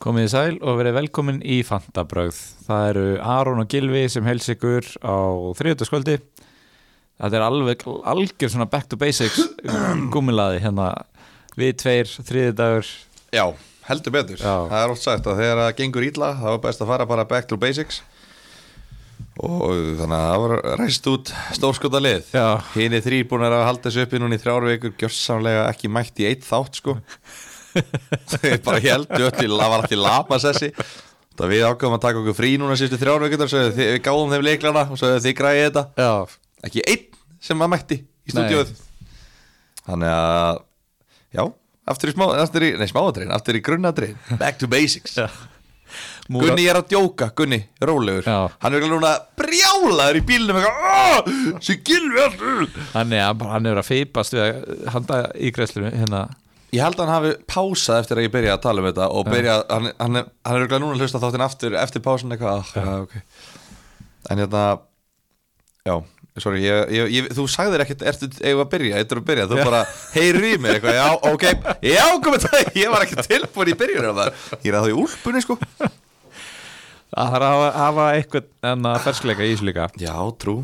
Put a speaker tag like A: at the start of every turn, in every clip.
A: Komið í sæl og verið velkomin í Fantabrögð. Það eru Aron og Gilvi sem hels ykkur á þriðutaskvöldi. Þetta er alveg algjör svona back to basics gummilaði hérna. Við tveir, þriðudagur.
B: Já, heldur betur.
A: Já.
B: Það er oft sagt að þegar það gengur ítla þá er best að fara bara back to basics og þannig að það var ræst út stórskota lið.
A: Já.
B: Hinn er þrý búin að halda þessu uppi núna í þrjár vekur, gjörsamlega ekki mætt í eitt þátt sko. Þeir bara heldur öll, í- það var allt í lapasessi. Það við ákveðum að taka okkur frí núna sístu þrjár vekur og sagði, við gáðum þeim leiklana og sagði þið græði þetta.
A: Já.
B: Ekki einn sem að mætti í
A: Nei.
B: stúdíóð. Þannig að, já, aftur í smá, aftur í, nei smáadrein, aftur í grunnadrein, back to basics.
A: Múra,
B: Gunni ég er að djóka, Gunni, rólegur.
A: Já.
B: Hann er ekki núna brjálaður í bílnum, eitthvað, "Ah, sem gilvi allur.
A: hann er, bara- hann er að feipast við að handa í greiðslunum hérna.
B: Ég held að hann hafi pásað eftir að ég byrja að tala um þetta og byrja, hann, hann, er- hann er ekki núna að hlusta á þáttinn aftur, eftir pásan eitthvað, ah, já, ok. En hérna, já, sorry, ég, ég, ég, þú sagðir ekkert, ertu, eigum við að byrja, eitthvað að byrja, þú bara heyri í mér eitthvað, já, ok, já, komið það, ég var ekki tilbúin í byrjunum það, ég er að það í úlpunni, sko.
A: Það þarf að hafa- hafa eitthvað enna fersleika í þessu líka.
B: Já, trú,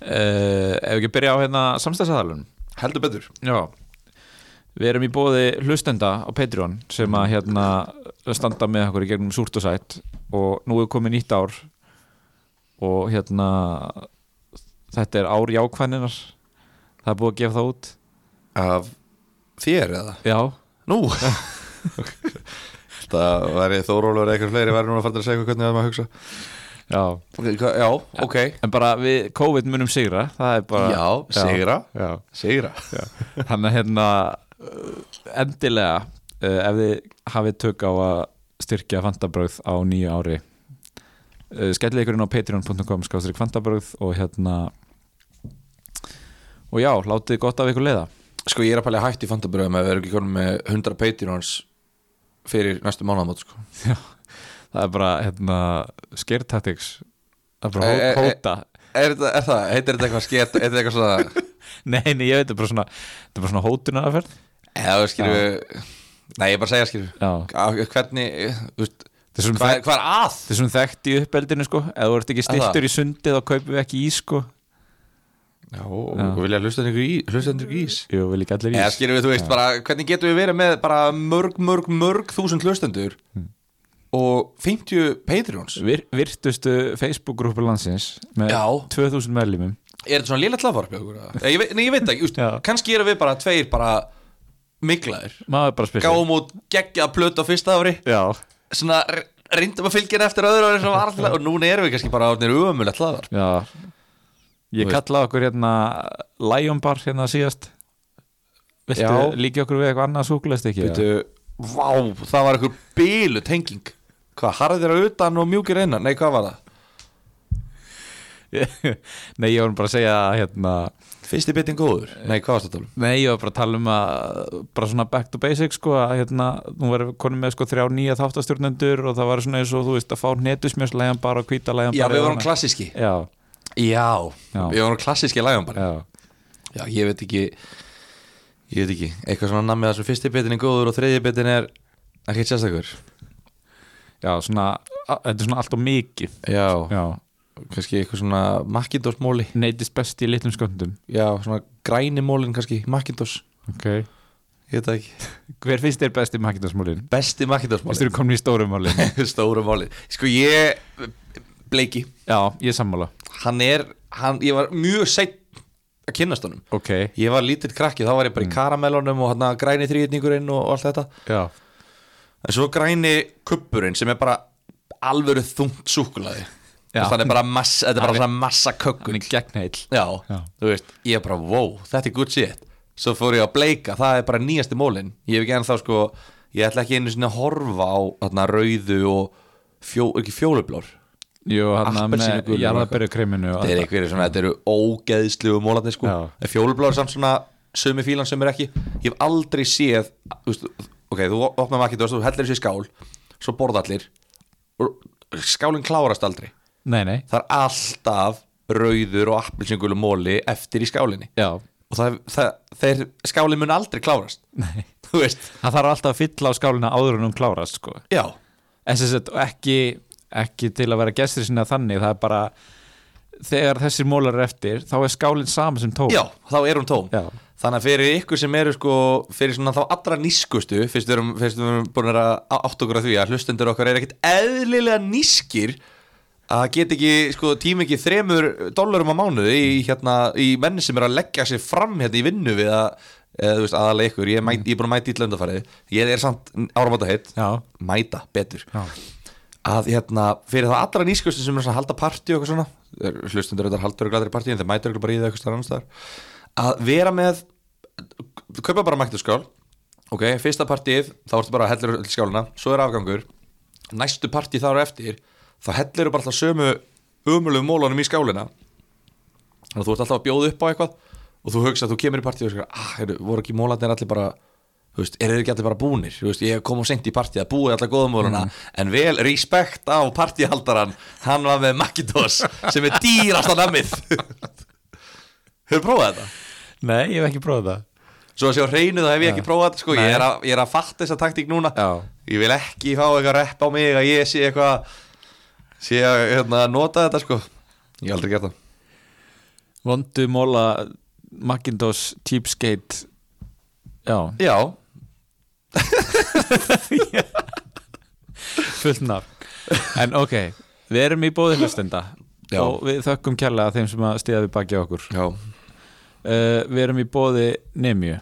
A: Uh, ef við ekki byrja á hérna samstæðsadalunum.
B: heldur betur.
A: Já Við erum í bóði hlustenda á Patreon sem að hérna standa með okkur í gegnum súrt og sætt og nú er komið nýtt ár og hérna þetta er ár jákvæninar það er búið að gefa það út
B: Af þér eða?
A: Já,
B: Nú Það væri Þórólfur eitthvað fleiri væri núna fannir að segja hvernig það maður hugsa
A: já
B: okay, hva- Já, ok
A: En bara við COVID munum sigra það er bara
B: Já, sigra.
A: Já,
B: Sigra
A: já Þannig að hérna uh, endilega uh, ef þið hafið tök á að styrkja fantabröð á nýju ári uh, skellið ykkur inn á patreon.com skástrík fantabröð og hérna og já, látið gott af ykkur leiða
B: Sko ég er að pælega hætt í fantabröðum ef við erum ekki konum með 100 Patreons fyrir næstu mánuðamót sko.
A: já, það er bara hérna, scare tactics það er bara
B: Eh, eh,
A: hó-
B: eh.
A: hóta
B: er, þetta- er það, heitir þetta eitthvað skert Heitir þetta eitthvað svona
A: nei, nei, ég veit, þetta er bara svona þetta er bara svona hótunaraferð
B: Eða skilur við Nei, ég er bara að segja skilur
A: já,
B: við Hvernig, þú veist
A: þetta er svona
B: Hvað
A: þekkt
B: er, hvað er að?
A: þetta er svona þekkt í uppeldinu sko, ef þú ert ekki
B: Er það?
A: stiltur í sundi þá kaupum við ekki í sko
B: Já, og vilja hlusta ykkur í Hlusta ykkur í ís
A: Jú, vil ekki allir
B: Eða
A: ís
B: skilur við, þú veist, bara hvernig getum við verið með bara mörg, mörg, mörg þúsund hlustendur og 50 Patreons
A: Vir, virtustu Facebook-grúpu landsins með
B: Já.
A: 2000 meðlumum
B: Er þetta svona lélega tlaðvarp hjá okkur? eða? Ég veit- Nei, ég veit ekki, úst,
A: Já.
B: kannski erum við bara tveir bara miklaðir
A: maður bara spyrir sig.
B: Gáum út geggja að plöta á fyrsta ári
A: Já,
B: Svona re- reyndum að fylgja henni eftir öðru ári sem var alltaf Og núna erum við kannski bara orðinir ömulega tlaðvarp
A: já Ég
B: Þú veist.
A: kallaði okkur hérna Lion Bar hérna síðast Viltu
B: Já.
A: líka okkur við eitthvað annað súkulest ekki?
B: Veitu, vá, það var einhver bílu tenging Hvað, harðir að utan og mjúkir innan? Nei, hvað var það?
A: Nei, ég var bara að segja að, hérna
B: Fyrsti bitin góður? Nei, hvað var það tala um?
A: Nei, ég var bara að tala um að bara svona back to basics sko að hérna, nú var konum með sko þrjá nýja þáttastjórnendur og það var svona eins og þú veist að fá netusmjörs Lion Bar og hvíta Lion
B: Já,
A: Bar
B: við
A: yfir
B: vorum
A: hana.
B: klassíski
A: Já,
B: Já,
A: Já.
B: við vorum klassíski lægum bara
A: já
B: Já, ég veit ekki Ég veit ekki, eitthvað svona namið þar sem fyrsti bitin er góður og þriðji bitin er ekki sérstakur
A: Já, svona, a- þetta er svona allt og mikið
B: Já,
A: Já,
B: kannski eitthvað svona Macintosh móli
A: neytist best í litlum sköndum
B: Já, svona græni mólin kannski, Macintosh
A: Ok
B: Ég veit það ekki
A: Hver finnst þér best í Macintosh-mólin?
B: Besti Macintosh
A: Finnst þér
B: móli
A: komin í stórum mólin?
B: Stóru móli Sko ég, Bleiki
A: Já, ég er sammála
B: Hann er, hann, ég var mjög seitt að kynnast honum
A: Ok
B: Ég var lítill krakki, þá var ég bara í karamellunum og hann græni þrýðningurinn og, og allt þetta
A: Já
B: En svo græni kuppurinn sem er bara alvöru þungt súkulaði
A: Já.
B: Þannig er bara massa, þetta er bara svona massa kökkur
A: Hann er gegnheill
B: Já,
A: Já.
B: þú veist, ég er bara wow, þetta er good shit Svo fór ég að bleika, það er bara nýjasti mólin Ég hef ekki ennþá sko, ég ætla ekki einu sinni að horfa á þarna rauðu og fjó, ekki fjólublár
A: Jú, hann er með
B: Appelsínugulur og
A: jarðabyrjukreminu
B: Þetta er einhverju svona, þetta eru ógeðslu mólarnir sko
A: Já.
B: En Fjólubláður samt svona sömu fílan sem er ekki Ég hef aldrei séð þú veist, Ok, þú opnar maður þú hellir þessu í skál Svo borða allir og Skálinn klárast aldrei
A: Nei, nei
B: Það er alltaf rauður og appelsingulu móli eftir í skálinni
A: Já
B: Og það, það, þeir, skálinn mun aldrei klárast
A: Nei
B: þú veist,
A: það þarf alltaf að fylla á skálina áður en hún klárast sko.
B: já,
A: en sem sagt ekki, ekki til að vera gestur sinna þannig það er bara þegar þessir mólar er eftir þá er skálinn sama sem tóm
B: já, þá er hún tóm
A: Já.
B: þannig að fyrir ykkur sem eru sko fyrir svona þá allra nískustu fyrst við erum, fyrst við erum búin að átt okkur að því að hlustendur okkar er ekkit eðlilega nískir að get ekki, sko, tíma ekki þremur dólarum á mánuði í,
A: Mm.
B: hérna, í menn sem er að leggja sér fram hérna í vinnu við að, eða, þú veist, aðalega ykkur ég er,
A: Mm.
B: mæt, ég er búin að mæta í löndafærið, ég er samt áramóta heitt,
A: Já.
B: mæta betur
A: Já.
B: að hérna, fyrir það allra nýskustu sem er svona að halda partí og eitthvað svona þeir- hlustendur þetta haldur og gladri partí en þeir mætur eitthvað bara í það eitthvað annars staðar að vera með, kaupa bara mækturskál ok, fyrsta partíð þá ertu bara að hellur öll skáluna, svo er afgangur næstu partí þá eru eftir þá hellur bara alltaf sömu umulum mólunum í skálina þannig að þú ert alltaf að bjóða upp á eitthvað og þú hugsa að þú kemur í partíu og skar ah, heru, voru ekki mólarnir allir bara þú veist, eru þeir ekki allir bara búnir Þú veist, ég kom og sent í partíu að búið allar góðum móluna en vel respekt á partíhaldaran hann var með Macintosh sem er dýrasta namið hefur prófað þetta?
A: nei, ég hef ekki prófað það
B: Svo að sjá hreinu þá hef ég ekki prófað þetta sko ég er, að, ég er að fatta þessa taktík núna
A: Já.
B: Ég vil ekki fá eitthvað rep á mig að ég sé eitthvað sé að hérna, nota þetta sko Ég hef aldrei gert það
A: vondu móla Macintosh cheapskate já,
B: Já,
A: fullt nafn en ok, við erum í bóði hlustenda
B: Já.
A: og við þökkum kjærlega þeim sem að stiða við baki á okkur uh,
B: já,
A: við erum í bóði Nemju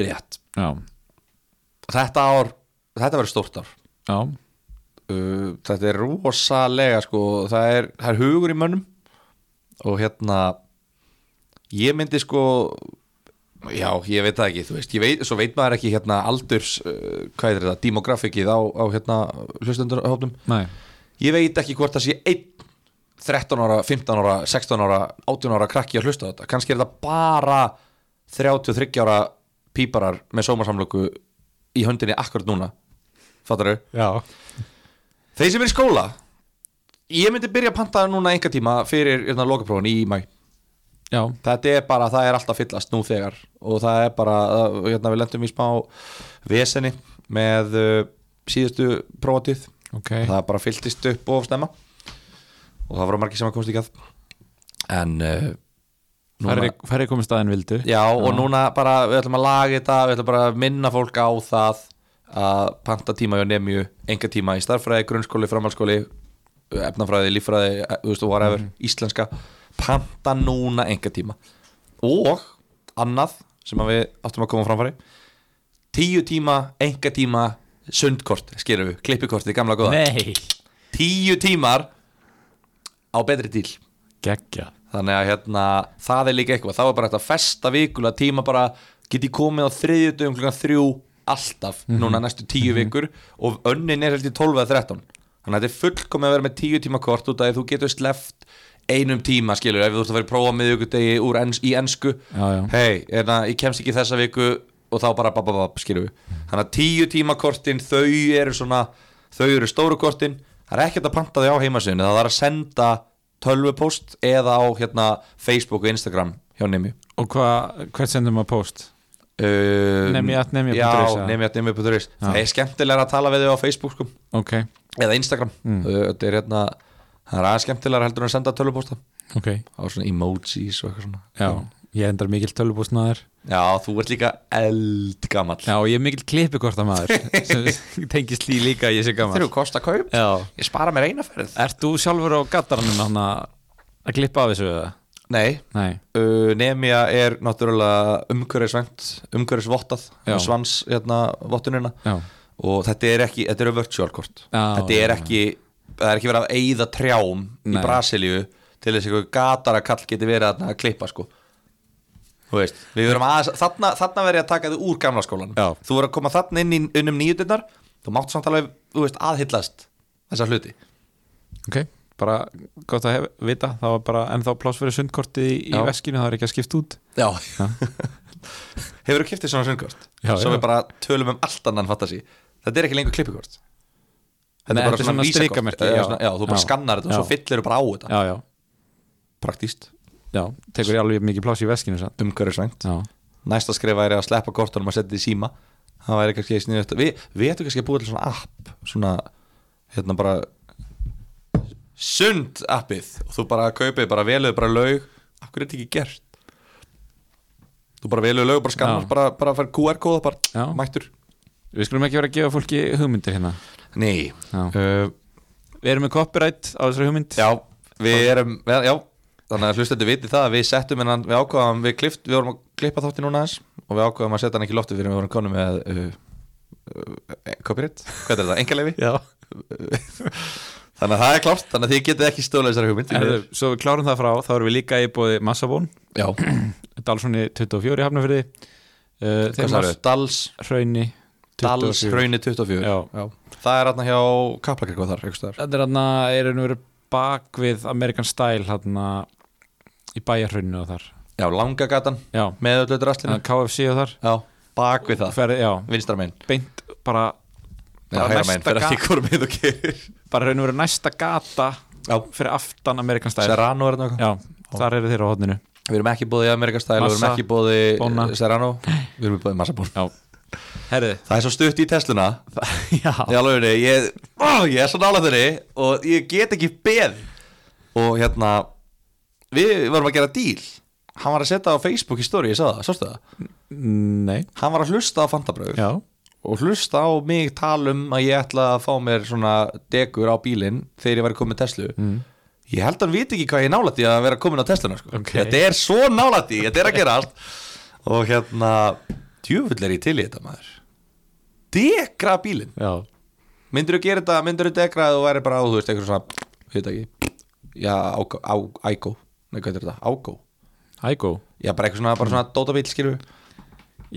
B: rétt
A: já,
B: Þetta ár, þetta verður stórt ár
A: já,
B: uh, þetta er rosalega sko, það er, það er hugur í mönnum og hérna ég myndi sko já, ég veit það ekki, þú veist ég veit, svo veit maður ekki hérna aldurs uh, hvað er þetta, demografikið á, á hérna hlustendurhófnum
A: næ
B: ég veit ekki hvort það sé einn 13 ára, 15 ára, 16 ára 18 ára krakki að hlusta á þetta kannski er þetta bara 33 ára píparar með sómasamlöku í höndinni akkurat núna fattaru?
A: já,
B: Þeir sem er í skóla Ég myndi byrja að panta núna einhver tíma fyrir hérna, lokaprófun í mæ
A: já,
B: Þetta er bara, það er alltaf fyllast nú þegar og það er bara, uh, hérna, við lendum í smá veseni með uh, síðustu prófatíð
A: ok
B: það bara fylltist upp og snemma og það voru margir sem að komast ekki að en uh,
A: færri, færri komið staðin vildu
B: Já, og núna bara við ætlum að laga þetta við ætlum bara að minna fólk á það að panta tíma hjá nefnju enga tíma í starffræði, grunnskóli, framhalskóli efnafræði, líffræði eh, þú veist, whatever, íslenska panta núna enga tíma og annað sem að við áttum að koma á framfæri tíu tíma, enga tíma sundkort, skerum við, klippikorti, gamla góða
A: nei,
B: tíu tímar á betri díl
A: geggja
B: þannig að hérna, það er líka eitthvað þá er bara þetta festa vikulega tíma bara get ég komið á þriðjudögum klukkan þrjú alltaf, núna næstu tíu vikur og önnin er heldur 12 eða 13 þannig að þetta er fullkomið að vera með tíu tíma kort út af því að þú getur sleft einum tíma skilur, ef þú ert að vera að prófa miðvikudegi úr ens, í ensku
A: Já, já.
B: hei, hérna, ég kemst ekki þessa viku og þá bara bababab, skilur við þannig að tíu tíma kortin, þau eru svona þau eru stóru kortin það er ekkert að panta þau á heimasinu það er að senda tölvupóst eða á hérna, Facebook og Instagram hjá nemi
A: og hvað, hvert sendum maður post
B: um,
A: Nemi@nemi.is,
B: já,
A: eða?
B: nemi.nemi.is það er skemmtilega að tala við þau á Facebook sko,
A: ok,
B: eða Instagram mm. það er hérna það er aðeins skemmtilega heldur en að senda tölvupósta
A: ok
B: á svona emojis og eitthvað svona
A: já, ég endar mikill tölubúsnaður
B: Já, þú ert líka eldgamall
A: já, og ég er mikill klippikorta maður sem tengist því líka að ég sé gaman
B: Þeir eru kost að kaup
A: já,
B: Ég spara mér eina ferð
A: Ert þú sjálfur á gattaranum hann að að klippa af þessu eða?
B: Nei,
A: Nei,
B: uh, Nemia er náttúrulega umhverfisvænt umhverfisvottað,
A: Já.
B: svans hérna, vottunina
A: já,
B: og þetta er ekki, þetta eru virtual kort
A: Já,
B: þetta er
A: já,
B: ekki, það er ekki verið að eyða trjám
A: Nei.
B: í Brasilíu til þess að einhver gatara kall geti verið þarna að klippa sko Þú veist, við verum aðeins, þarna, þarna verið að taka þig úr gamla skólanum
A: Já.
B: þú verður að koma þarna inn í unnum nýjudinnar þú mátt samt alveg, þú veist, aðhyllast þessa hluti
A: ok Bara gott að hef, vita, það var bara ennþá pláss fyrir sundkortið í, í
B: Já.
A: veskinu það er ekki að skipta út
B: Já Hefur þú kiftið svona sundkort?
A: Já,
B: Svo
A: já.
B: við bara tölum um allt annan fantasi Þetta er ekki lengur klippikort Þetta
A: Nei,
B: er bara
A: þetta er
B: svona
A: svona
B: vísakort
A: strikamerki,
B: Eða
A: já.
B: svona- Já, þú bara
A: Já.
B: skannar þetta og svo
A: Já.
B: fyllir þú bara á þetta
A: Já, já,
B: Praktíst,
A: já, tekur ég alveg mikið pláss í veskinu sann
B: umhverfisvænt
A: Já,
B: Næsta skrif væri að sleppa kortunum að setja þetta í síma það væri kannski sniðvægt við, við ættum kannski að búa til svona app svona, hérna bara sund appið og þú bara kaupið, bara veluðu bara laug af hverju er þetta ekki gert þú bara veluðu laug, bara skannar
A: Já.
B: bara, bara fær QR-kóða, bara
A: Já.
B: mættur
A: Við skulum ekki vera að gefa fólki hugmyndir hérna
B: nei
A: Já.
B: uh,
A: Við erum með copyright á þessari hugmynd
B: já, við erum já, já, þannig að hlustandi viti það að við settum hennan, við ákvaðum, við klift við vorum að klippa þátti núna aðeins og við ákvaðum að setja hann ekki í lofti fyrir við vorum konum með uh, uh, copyright, hvað er þetta, engaleifi
A: Já.
B: Þannig að það er klárt, þannig að þið getið ekki stóla þessari hugmynd
A: Erðu, Svo við klárum það frá, þá erum við líka í bóði Massabón,
B: Já,
A: Dalssoni 24 í Hafnafyrði uh,
B: hvað sagði Dals,
A: Hraunni 24.
B: Dals, Hraunni 24
A: Já.
B: Það er hérna hjá Kaplakrikva þar, einhvers staðar
A: Þetta er hann að er hann verið bak við Amerikan Style hann í bæjarhrauninu og þar
B: Já, Langagatan,
A: Já,
B: með öllu drastlinu
A: þannig að KFC og þar
B: Já, bak við það,
A: Ferð, Já,
B: vinstra megin
A: beint bara
B: Já,
A: Bara
B: hægra
A: næsta
B: megin, fyrir
A: gat-
B: ekki hvort með þú gerir
A: bara raun og verið næsta gata
B: Já.
A: fyrir aftan Amerikan Style
B: Serrano er þetta
A: Já, þar eru þeir á hodninu
B: Við erum ekki bóðið í Amerikastæl, við erum
A: Massa,
B: ekki bóðið
A: Bonna.
B: Serrano Við erum bóðið Massabón
A: Já, herriði
B: Það er svo stutt í Tesluna
A: Já,
B: Já, lögunni, ég, ó, ég er svo nála þeirri og ég get ekki beð og hérna við varum að gera díl hann var að setja á Facebook í story, ég sá það, sástu það
A: nei
B: hann var að hlusta á fantabröður
A: Já,
B: og hlusta á mig tala um að ég ætla að fá mér svona degur á bílinn þegar ég væri komin með Tesla ég held að hann viti ekki hvað ég er nálætt í að vera komin á Tesluna sko.
A: Ok.
B: þetta er svo nálætt í, þetta er að gera allt og hérna djúfull er ég til í þetta maður degra bílinn
A: já,
B: Myndir þú gera þetta, myndir þú degra að þú væri bara á, þú veist, eitthvað svona, við veit ekki, já, ágó, á, ægó, nei, hvað er þetta, ágó,
A: ægó
B: já, bara eitthvað svona, bara svona dótabíl, skilur við.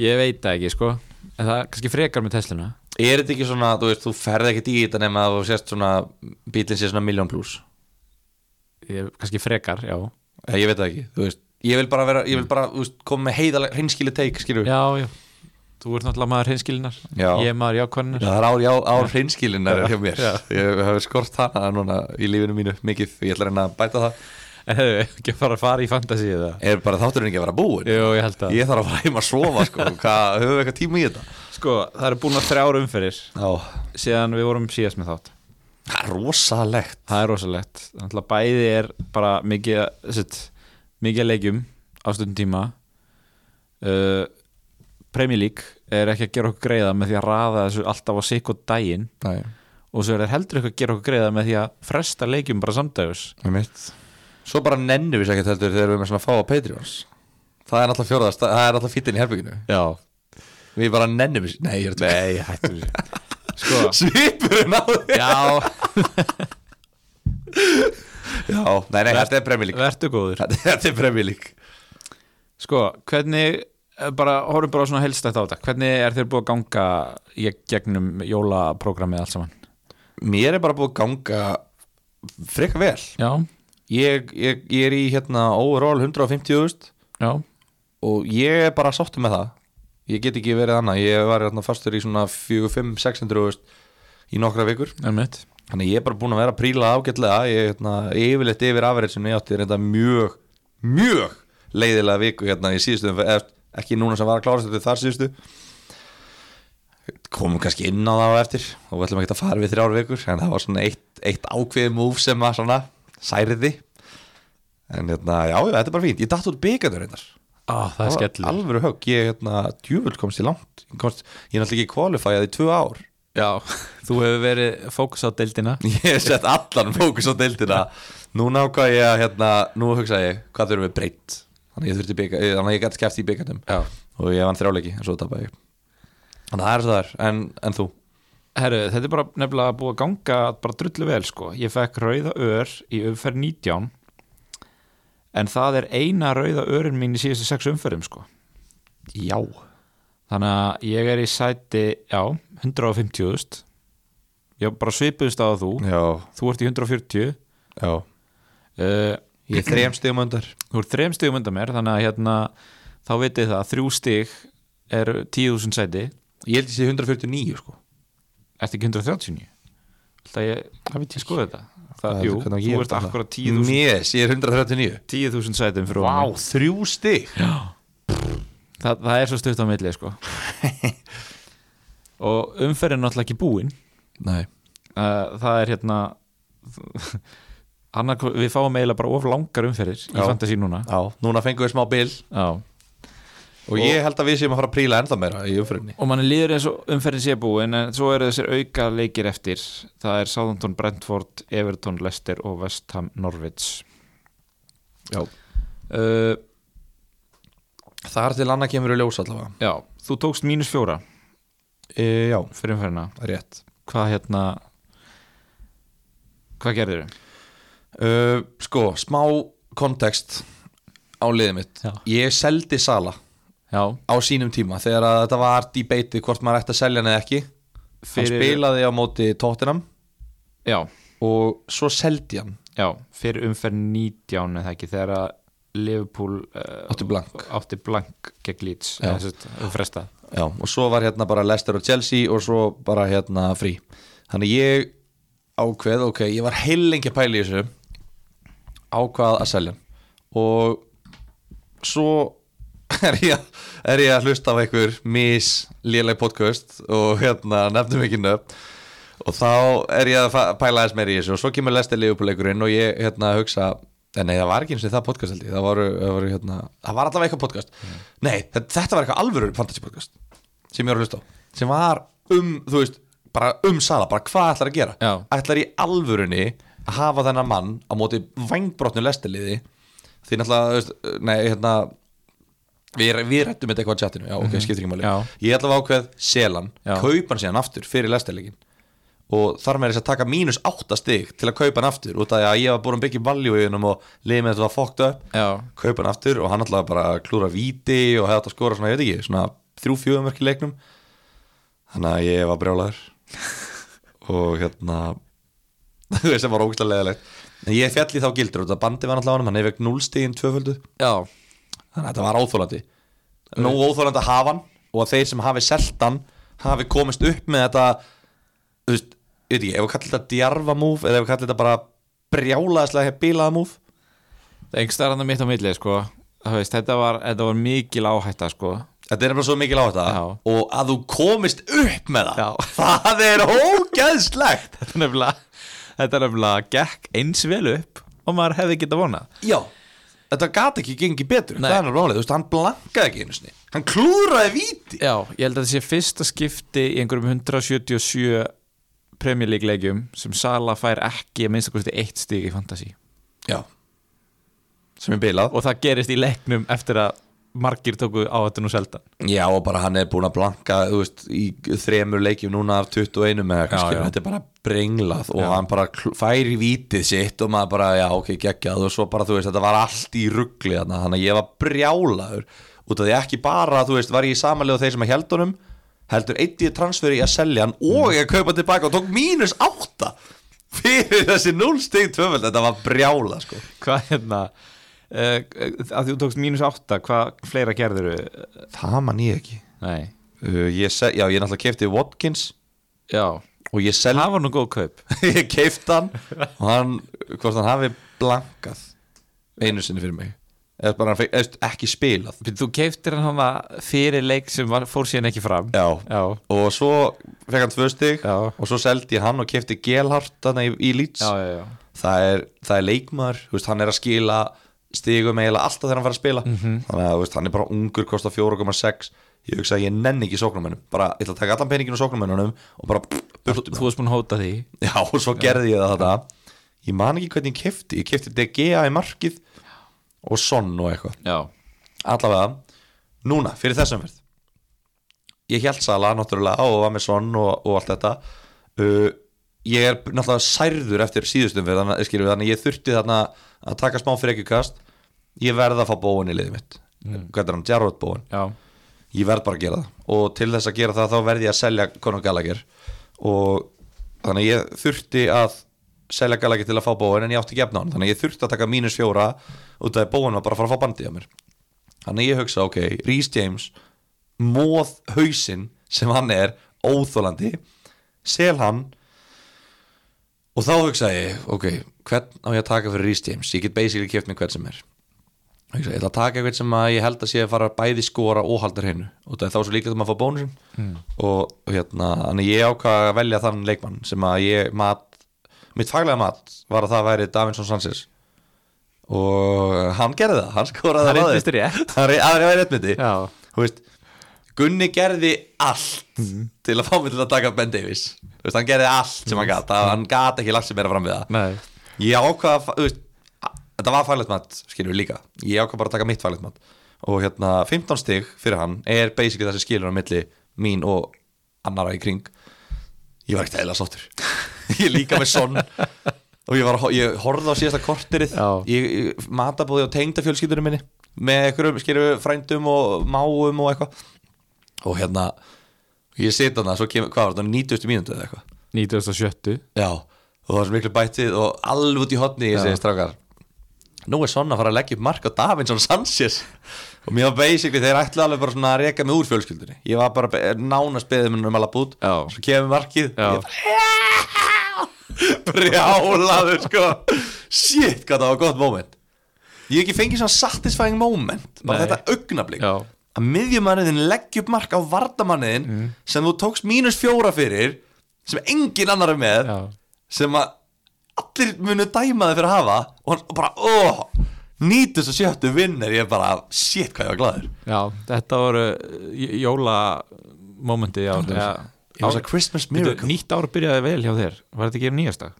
A: Ég veit það ekki sko En það er kannski frekar með Tesluna
B: Er þetta ekki svona, þú veist, þú ferð ekkert í þetta nema að þú sést svona, bílinn sé svona miljón pluss,
A: ég, Kannski frekar, já
B: Eh, ég, ég veit það ekki, þú veist, ég vil bara vera, ég vil bara, þú veist, koma með heiðalega, hreinskili teik, skilur við.
A: Já, já Þú ert náttúrulega maður hinskilinar
B: Já.
A: Ég er maður jákvæðinar
B: Það er ár, já, ár hreinskilinnar hjá mér,
A: Já.
B: ég hef skort hana núna í lífinu mínu mikið, ég ætla að reyna að bæta það,
A: En hefur ekki bara að fara í fantasíu það
B: er bara þátturinn ekki að vera búin.
A: Jú, ég held að
B: Ég þarf að fara heim að sofa sko, hvað, höfum við eitthvað tíma í þetta?
A: Sko, það eru búin að þrjár umferðir
B: Já,
A: Síðan við vorum síðast með þátt
B: Það er rosalegt
A: Það er rosalegt Þannig að bæði er bara mikið sitt, mikið að leikjum á stundum tíma uh, Premier League er ekki að gera okkur greiða með því að raða þessu alltaf á sikk og daginn
B: Nei,
A: og svo er þeir heldur ekki að gera okkur greiða með því að fresta leikjum bara samdægus
B: með mitt Svo bara nennum við sér ekkert heldur þegar við erum með svona að fá á Patreons Það er náttúrulega fjóraðast, það er náttúrulega fýttin í herbygginu
A: Já,
B: Við bara nennum við sér, nei, ég er þetta
A: nei, hættu þessu Sko,
B: Svipurinn á þér
A: já,
B: Já, nei, nei, þetta er premjölík
A: vertu góður
B: Þetta er premjölík
A: Sko, hvernig, eh, bara, horfum bara á svona helstætt á þetta Hvernig er þeir búið að ganga í gegnum jólaprógrammið allt saman?
B: Mér er bara búið að ganga freka vel
A: Já,
B: Ég, ég, ég er í hérna overall 150.000
A: já
B: og ég er bara sáttu með það Ég get ekki verið annað, ég var hérna fastur í svona 4-5-600.000 í nokkra vikur
A: Einmitt.
B: Þannig ég er bara búin að vera að príla ágætlega Ég er hérna, yfirleitt yfir afræðsinu Ég átti þetta mjög, mjög leiðilega viku hérna í síðustu umferð, eða Ekki núna sem var að klára þetta þar síðustu Komum kannski inn á það á eftir Og við ætlum ekki að fara við þrjár vikur En það var svona eitt, eitt ákveðið múf sem að svona særiði En hérna, já, já, þetta er bara fínt Ég datt út byggandur reyndar
A: Ah, það er
B: var
A: skellur
B: Alvöru högg, ég hérna, djúvöld komst ég langt Ég komst, Ég er náttúrulega ekki kvalifæði í tvö ár
A: Já, þú hefur verið fókus á deildina
B: Ég hef sett allan fókus á deildina Núna ákvað ég að hérna Nú hugsa ég, hvað þurfum við breytt Þannig að ég þurfti bygga, þannig að ég gæti skeft í byggandum
A: Já
B: Og ég vann þrjáleiki, en svo tapaði ég Þannig að það er svo þar, en, en þú
A: Herru, þetta er bara nefnilega búið að ganga bara drullu vel sko Ég fekk rauða ör í umferð 19 En það er eina rauða örin mín í síðustu sex umferðum sko
B: Já
A: Þannig að ég er í sæti, já, 150.000 Ég var bara svipuðust á þú
B: Já,
A: Þú ert í 140 uh,
B: já Ég er þrejum stigum undar
A: Eh, Þú ert þrem stigum undan mér Þannig að hérna, þá vitið það að Þrjú stig er 10.000 sæti
B: Ég held ég sé 149 sko
A: Ertu ekki 139? Það ég, það veit ég skoði þetta það,
B: Hvað-
A: Jú,
B: hvernig á ég
A: þú
B: að
A: ert
B: tala?
A: akkurat 10.000
B: Yes, ég er 139
A: 10.000 sætum fyrir
B: Vá,
A: ofan mig.
B: þrjú stig
A: það, það er svo stutt á milli sko og umferðin er náttúrulega ekki búin
B: Nei
A: uh, það er hérna annar, við fáum eiginlega bara of langar umferðir í
B: Já.
A: fantasy núna
B: Já, núna fengum við smá bil
A: Já.
B: Og ég held að við séum að fara að príla ennþá meira í umfyrinni
A: og manni líður eins og umferðin sé búin en svo eru þessir auka leikir eftir það er Southampton, Brentford, Everton, Leicester og West Ham, Norwich
B: Já
A: uh,
B: Eh, Þar til annað kemur í ljós allavega
A: Já, þú tókst mínus fjóra
B: e, Já,
A: fyrir umferðina
B: rétt
A: hvað hérna hvað gerðir þau?
B: uh, Sko, smá kontekst á liðið mitt
A: Já.
B: Ég seldi Sala
A: Já,
B: á sínum tíma þegar að þetta var debatið hvort maður ætti að selja hann eða ekki
A: Fyrir-
B: Hann spilaði á móti Tottenham
A: já,
B: og svo seldi hann
A: já fyrir umferð 19 eða ekki þegar að Liverpool uh,
B: Átti blank.
A: átti blank gegn Leeds
B: Já.
A: eða sem sagt, um frestað.
B: Já, og svo var hérna bara Leicester og Chelsea og svo bara hérna frí Þannig ég ákveð, ok, ég var heilengi að pæla í þessu ákvað að selja hann. og svo er ég, að- er ég að hlusta á einhver mis léleg podcast og hérna nefnum ekki nöfn og þá er ég að fa- pæla aðeins meir í þessu og svo kemur Leicester Leopoldleikurinn og ég hérna hugsa en nei það var ekki eins og það podcast held ég það, voru, það, voru, hérna, það var allavega eitthvað podcast nei þetta, þetta var eitthvað alvöru fantasy podcast sem ég var að hlusta á sem var um, þú veist, bara um sala bara hvað ætlar að gera
A: Já.
B: ætlar í alvörunni að hafa þennan mann á móti vangbrotnu lestiliði því náttúrulega, þú veist, nei, hérna við, við rættum þetta eitthvað á chatinu já, ok, skiptir ekki máli
A: Mhm. Já.
B: ég ætla að ákveð selan,
A: Já.
B: kaupan síðan aftur fyrir lestilegin og þar með þess að taka mínus 8 stig til að kaupa hann aftur út af því að ég var búin að byggja value í hennum og liðið með þetta var fokta
A: Já.
B: kaupa hann aftur og hann alltaf bara klúra víti og hefði átt að skora svona, ég veit ekki, svona þrjú fjöðum verki leiknum þannig að ég var brjálaður og hérna sem var ógæslega leðilegt en ég fjalli þá gildur og þetta bandi var alltaf á hann hann hefði vekk núlstigin tvöföldu
A: Já,
B: þannig að þetta var óþólandi nú óþólandi að hafa hann og að þeir sem hafi selt hann hafi komist upp með þetta þú veist, ég veit ekki, ef við kallar þetta djarfa múf eða ef við kallar þetta bara brjálaðislega bílaða múf
A: það er einhverstaðar hann að mitt á milli sko. Það veist, þetta, var, þetta var mikil áhætta sko.
B: Þetta er nefnilega svo mikil á þetta
A: Já.
B: og að þú komist upp með það
A: Já.
B: það er ógeðslegt
A: þetta er nefnilega þetta er nefnilega gekk eins vel upp og maður hefði geta vonað
B: Já, þetta gat ekki gengið betur
A: Nei.
B: það er nefnilega málið, þú veist, hann blankaði ekki einu sinni hann klúraði víti
A: Já, ég held að þetta sé fyrsta skipti í einhverjum 177 Premier League leikjum sem Sala fær ekki að minnst að kosti eitt stig í fantasy
B: Já, sem er bilað
A: og það gerist í leiknum eftir að margir tóku á þetta nú seldan
B: Já, og bara hann er búin að blanka þú veist, í þremur leikjum núna af 21 með
A: Já,
B: kannski,
A: já.
B: þetta er bara brenglað og hann bara kl- fær í vítið sitt og maður bara, já, ok, geggjað og svo bara, þú veist, þetta var allt í ruggli þarna, þannig að ég var brjálaður út af því ekki bara, þú veist, var ég í samanlega þeir sem að held honum, heldur eitt í transferi í að selja hann og ég að kaupa tilbaka og tók mínus átta fyrir þessi núlstig tvöfald, þetta var brjálað, sko
A: Hvað hérna uh, að þú tókst mínus átta, hvað fleira gerður
B: Það man ég ekki
A: Nei,
B: uh, ég se- Já, ég náttúrulega kefti Watkins
A: já
B: og ég selja
A: Það var nú góð kaup
B: ég keifti hann og hann, hvort hann hafi blankað einu sinni fyrir mig eða bara hann fekk eða ekki spilað
A: Býttu, Þú keiftir hann hana fyrir leik sem var, fór síðan ekki fram
B: já,
A: Já,
B: og svo fekk hann tvö stig
A: já,
B: og svo seldi ég hann og keifti Gelhart þarna í, í Leeds
A: já, já, já.
B: það er, það er leikmaður, þú veist, hann er að skila stigum eiginlega alltaf þegar hann fara að spila
A: Mhm.
B: þannig að þú veist, hann er bara ungur, kostar 4,6 ég hugsa að ég nenni ekki sóknumennum bara, ég ætla að taka allan peningin úr sóknumennunum og bara burtu
A: Þú varst búin að hóta því
B: Já, og svo gerði ég það þetta Ég man ekki hvernig ég kefti Ég kefti DGA í markið og Son og eitthvað
A: Já,
B: Allavega, núna, fyrir þessum verð Ég held Sala náttúrulega og var með Son og, og allt þetta uh, Ég er náttúrulega særður eftir síðustum verð þannig, skilur, við, þannig að ég þurfti þarna að taka smá frekjukast Ég verð að fá bóin í liðið mitt Hvað er hann, Jarrod bóin
A: já,
B: ég verð bara að gera það og til þess að gera það þá verð ég að selja Conor Gallagher og þannig að ég þurfti að selja Gallagher til að fá bóin en ég átti ekki efna á hann þannig að ég þurfti að taka mínus fjóra út af bóin var bara að fara að fá bandið á mér þannig að ég hugsa ok, Rhys James móð hausinn sem hann er óþólandi sel hann og þá hugsa ég ok, hvern á ég að taka fyrir Rhys James ég get basically keft mig hvern sem er ég ætla að taka eitthvað sem að ég held að sé að fara að bæði skora og halda hreinu og það er þá svo líklegt að maður fá bónusinn
C: Mm.
B: og, og hérna, þannig ég ákvað að velja þann leikmann sem að ég mat mitt faglega mat var að það væri Davinson Sanchez og hann gerði það, hann
C: Það
B: skoraði á
C: reyndist
B: raðir.
C: rétt.
B: það reyndist rétt, það reyndist rétt
C: Já.
B: þú veist Gunni gerði allt til að fá mig til að taka Ben Davies Þú veist, hann gerði allt sem hann gat Það- hann gat ekki lagt sem er að fram við það
C: Nei.
B: ég ákvað að fa- þú veist, að- þetta var faglegt mat, skilur við líka ég ákvað bara að taka mitt faglegt mat og hérna 15 stig fyrir hann er basically þessi skilur á milli mín og annara í kring ég var ekkert eðla sáttur ég er líka með sonn og ég, var, að ho- ég horfði á síðasta korterið
C: Já.
B: ég, ég matabóði á tengdafjölskyldunum minni með einhverjum skilur frændum og máum og eitthvað og hérna ég sit hann svo kemur, hvað var þetta, 90 mínútu eða eitthvað
A: 1970
B: Já, og það var svo miklu bættið og alveg út í hotni ég segi strákar Nú er svona að fara að leggja upp mark á Davinson Sanchez og mér var basically, þeir ætlaði alveg bara svona að reka mig úr fjölskyldunni ég var bara be- nánast beðið mér um að lappa út
A: Já.
B: svo kemur markið
A: Já.
B: ég bara brjálaður sko shit hvað það var gott moment ég hef ekki fengið svona satisfying moment
A: Nei.
B: bara þetta augnablík
A: Já.
B: að miðjumanniðin leggja upp mark á vardamanniðin
A: Mm.
B: sem þú tókst mínus fjóra fyrir sem engin annar er með
A: Já.
B: sem að allir munu dæma þið fyrir að hafa og hann bara, óh nýtus og sjöttu vinnur, ég er bara shit hvað ég var glaður
A: Já, þetta voru eh, jólamomenti já, já,
B: It was a Christmas
A: Bíddu,
B: miracle
A: Nýtt ár byrjaði vel hjá þér Var þetta ekki um nýjastak?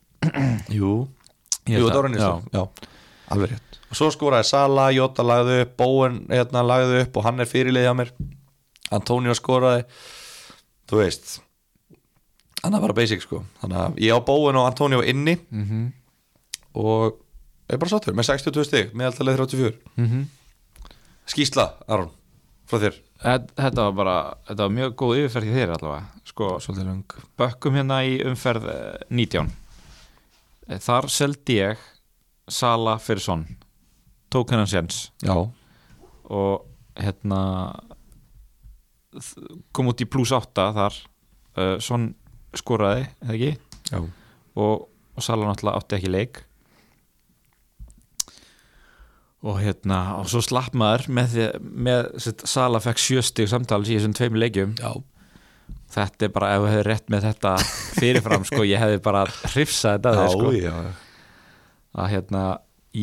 B: Jú, Jú það var
A: nýjastak
B: nýjast Alveg rétt Og svo skoraði Sala, Jota lagði upp Bóen hérna, lagði upp og hann er fyrirlið hjá mér Antonio skoraði Þú veist Hann er bara basic sko Þannig að ég á Bóen og Antonio inni Mhm. Og er bara sáttur Með 62 stig, meðaltalið 34 Skísla, Aron Frá þér
A: Þetta var bara, þetta var mjög góð yfirferð hjá þér allavega Sko,
B: Svolítið löng
A: bökkum hérna í umferð eh, 19 Eh, Þar seldi ég Sala fyrir Son Tók hennan séns
B: Já,
A: og hérna þ- kom út í pluss 8 þar uh, Son skoraði, eða ekki
B: já
A: og, og Sala náttúrulega átti ekki leik og hérna og svo slapp maður með, því- með sitt, Sala fekk sjöstig samtals í þessum tveim leikjum
B: Já,
A: þetta er bara, ef þú hefði rétt með þetta fyrirfram sko, ég hefði bara hrifsað þetta
B: já,
A: að þér, sko.
B: já.
A: að hérna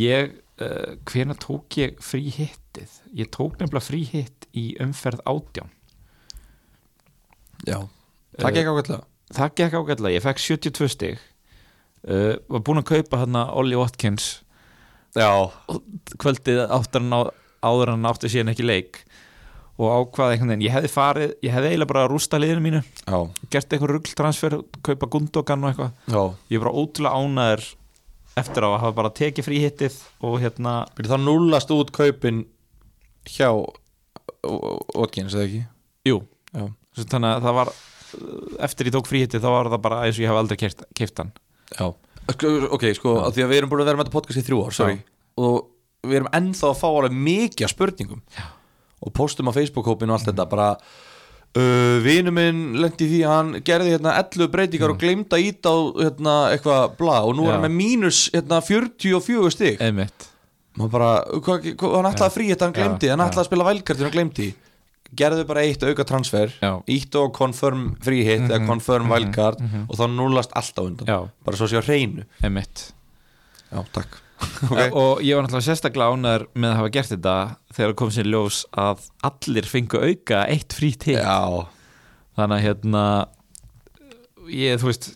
A: ég, uh, hvena tók ég frí hittið? Ég tók nefnilega frí hitt í umferð átján
B: já. Það gekk ákveðlega
A: það gekk ágætlega, ég fekk 72 stig uh, var búinn að kaupa hérna Ollie Watkins
B: Já,
A: kvöldið áttur en á, áður en hann átti síðan ekki leik og ákvaði einhvern veginn, ég hefði farið ég hefði eiginlega bara rústa liðinu mínu
B: já,
A: gert einhver ruggtransfer, kaupa gundogan og eitthvað
B: já.
A: ég er bara ótrúlega ánæður eftir á að hafa bara tekið frí hittið og hérna,
B: Byrju, það núllast út kaupin hjá Watkins eða ekki?
A: jú
B: Já.
A: Svo þannig að það var uh, eftir ég tók fríhiti þá var það bara eins og ég hef aldrei keypt- keypt hann
B: Já. Ok, sko, já. því að við erum búin að vera með þetta podcast í þrjú ár, sorry.
A: Já.
B: Og við erum ennþá að fá alveg mikið af spurningum. Já. Og postum á Facebook-hópin og allt þetta, bara... Uh, Vinu minn lendi því að hann gerði hérna 11 breytingar og glemd að íta á hérna eitthvað bla og nú
A: Mm.
B: er
A: Já.
B: hann með mínus hérna 44 stig
A: einmitt
B: maður bara, hvað, hvað, hann ætlaði að frí þetta hann
A: Já,
B: glemdi, hann
A: já.
B: ætlaði að spila vælkartin hann glemdi, gerðu bara eitt auka transfer,
A: Já.
B: ítt og confirm frí hit eða confirm vælkart og þá núlast allt á undan,
A: Já.
B: bara svo séu hreinu
A: einmitt
B: já, takk
A: Eh, og ég var náttúrulega sérstaklega ánæður með að hafa gert þetta þegar kom sér ljós að allir fengu auka eitt frí til
B: já,
A: þannig að hérna ég, þú veist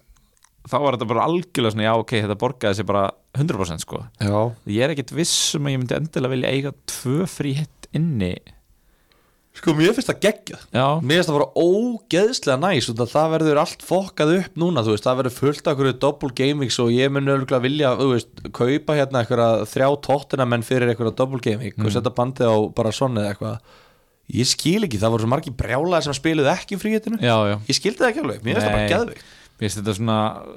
A: þá var þetta bara algjörlega svona, já ok, þetta borgaði sér bara 100% sko
B: já,
A: ég er ekkit viss um að ég myndi endilega vilja eiga tvö frí hitt inni
B: sko mér finnst það geggjað
A: já,
B: Mér finnst það bara ógeðslega næs út að það verður allt fokkað upp núna þú veist, það verður fullt af hverju double gamings og ég mun örgulega vilja, þú veist, kaupa hérna eitthvað þrjá tóttina menn fyrir eitthvað double gaming og setja bandið á bara svona eða eitthvað ég skil ekki, það voru svo margir brjálaðir sem spiluðu ekki í fríhetinu
A: já, já
B: ég skildi það ekki alveg, mér finnst það bara
A: Nei.
B: geðveikt
A: Mér finnst þetta svona,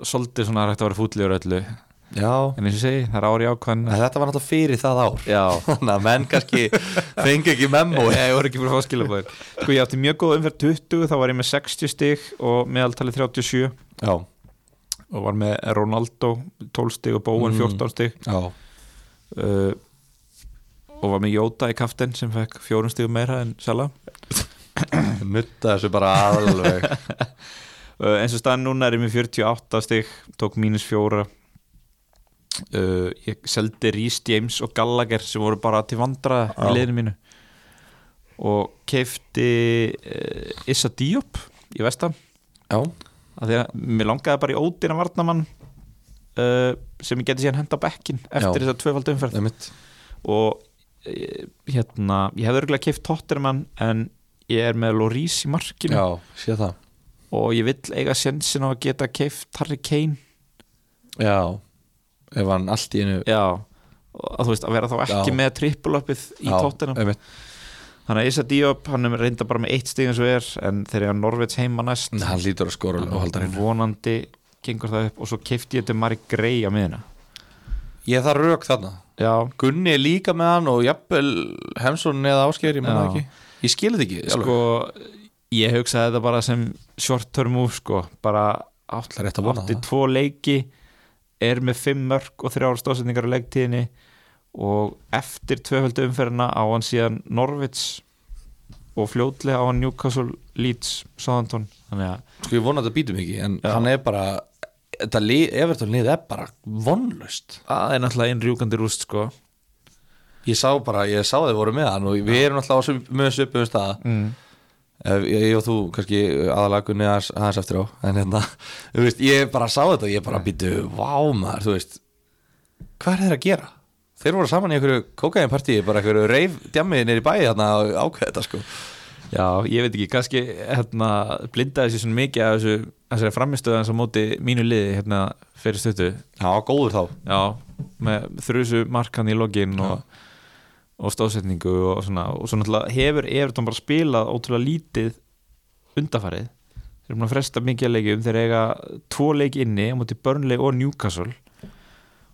A: svolítið svona rætt að vera fútlegur öllu
B: Já,
A: En eins og ég segi, það er ári ákvæðan
B: en þetta var náttúrulega fyrir það ár
A: Já
B: þannig að menn kannski fengi ekki memo
A: Ég voru ekki búin að fá skilabóðir Sko ég átti mjög góð umferð 20, þá var ég með 60 stig og meðaltalið 37
B: Já,
A: og var með Mm. Ronaldo 12 stig og Bowen 14 stig
B: já,
A: uh, og var með Jóta í kaftin sem fekk fjórum stíðum meira en Sala
B: nutta þessu bara alveg
A: uh, eins og staðan núna er ég með 48 stík tók mínus fjóra uh, ég seldi Rhys James og Gallagher sem voru bara til vandra í
B: Já.
A: liðinu mínu og keifti uh, Issa Diop í vestam
B: já,
A: að því að mér langaði bara í ódýra varnamann uh, sem ég geti síðan henda á bekkin eftir
B: Já. Um.
A: þess að tvöfald umferð
B: einmitt
A: og eh, hérna, ég hefði örgulega keift Tottenham en ég er með Lorís í markinu
B: já, sé það
A: og ég vill eiga sensin á að geta keift Harry Kane
B: já, ef hann allt í einu
A: já, og að þú veist, að vera þá ekki
B: Já.
A: með trippulöpið í
B: já,
A: Tottenham
B: einmitt.
A: þannig að Issa Diop, hann er reynda bara með eitt stig eins og er, en þegar ég að Norvits heima næst
B: Nei, hann lítur að skora og halda hreinu
A: vonandi gengur það upp og svo keifti ég til Mari Grey á miðina
B: ég þarf rauk þarna
A: já,
B: Gunni er líka með hann og jafnvel Hemsson eða Ásker, ég menna
A: Já.
B: ekki ég skil þetta ekki, alveg.
A: sko ég hugsaði þetta bara sem short term move sko, bara átt,
B: Það er rétt að vona
A: átti
B: það.
A: tvo leiki er með fimm mörg og þrjára stóðsendingar á leiktíðinni og eftir tvöföldu umferðina á hann síðan Norvits og fljótlega á hann Newcastle Leeds Southampton þannig að
B: sko ég vona að þetta býtum ekki en
A: Já.
B: hann er bara þetta lið, Everton lið er bara vonlust
A: það er náttúrulega einn rjúkandi rúst sko
B: ég sá bara, ég sá þið voru með hann og við erum alltaf á svip- mjög svipum stað
A: mm.
B: Ef- ég, ég og þú kannski aðalagunni aðeins, aðeins eftir á en hérna, þú veist, ég bara sá þetta og ég bara býtu, vá maður, þú veist hvað er þeir að gera? Þeir voru saman í einhverju kókaðinpartíi bara einhverju reif djamið nýri bæði þarna og ákveða þetta sko
A: Já, ég veit ekki, kannski hérna, blindaði sér svona mikið af þessu, þessari framistöðans á móti mínu liði hérna fyrir stötu
B: Já, góður þá
A: Já, með þrjusu markan í lokin og, og stóðsetningu og svona, og svona náttúrulega hefur Everton bara spilað ótrúlega lítið undafarið þeir eru búin að fresta mikið að leikjum þeir eiga tvo leik inni á móti Burnley og Newcastle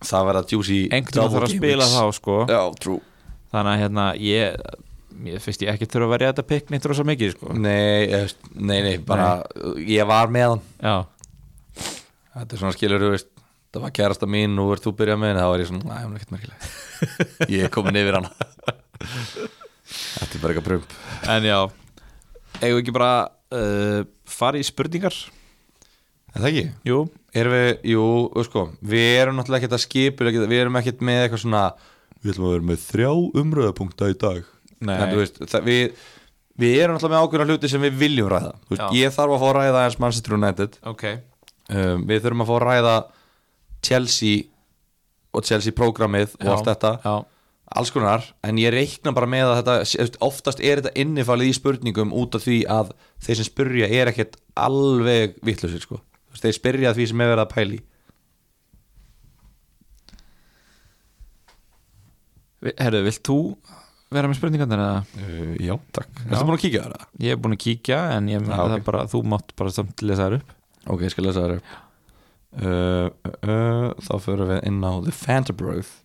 B: Það verða juicy
A: einhvern veginn þarf að spila þá sko
B: Já, trú
A: þannig að hérna ég, ég finnst ég ekki þurfa að verja þetta pikk neitt rosa mikið sko
B: Nei, ég veist, nei, nei, bara ég var með hann
A: Já,
B: Þetta er svona skilur, þú veist það var kærasta mín, nú ert þú byrjað með henni þá var ég svona, næ, hún er ekkert merkileg Ég er komin yfir hana Þetta er bara eitthvað prump
A: en já eigum við ekki bara uh, fara í spurningar
B: Er það ekki?
A: Jú,
B: Erum við, jú, þú sko Við erum náttúrulega ekkert að skipur ekkert, Við erum ekkert með eitthvað svona Við ætlum að vera með þrjá umröðapunkta í dag
A: Nei.
B: En þú veist, það, við, við erum náttúrulega með ákveðna hluti sem við viljum ræða Þú veist,
A: Já.
B: Ég þarf að fá að ræða eins Manchester United
A: ok
B: um, Við þurfum að fá að ræða Chelsea og Chelsea prógramið og allt þetta
A: Já,
B: alls konar, en ég reikna bara með að þetta, þú veist, oftast er þetta innifalið í spurningum út af því að þeir sem spyrja er ekkert alveg vittlusir sko, Þú veist, þeir spyrja að því sem er verið að pæli
A: Herðu, vilt þú vera með spurningarnir eða?
B: uh, Já, takk Ertu búin að kíkja á það?
A: Ég er búin að kíkja en ég meina
B: Já, ok.
A: það bara, þú mátt bara samt lesa þær upp
B: Ok, ég skal lesa það upp uh, uh, uh, Þá förum við inn á The Fantabroth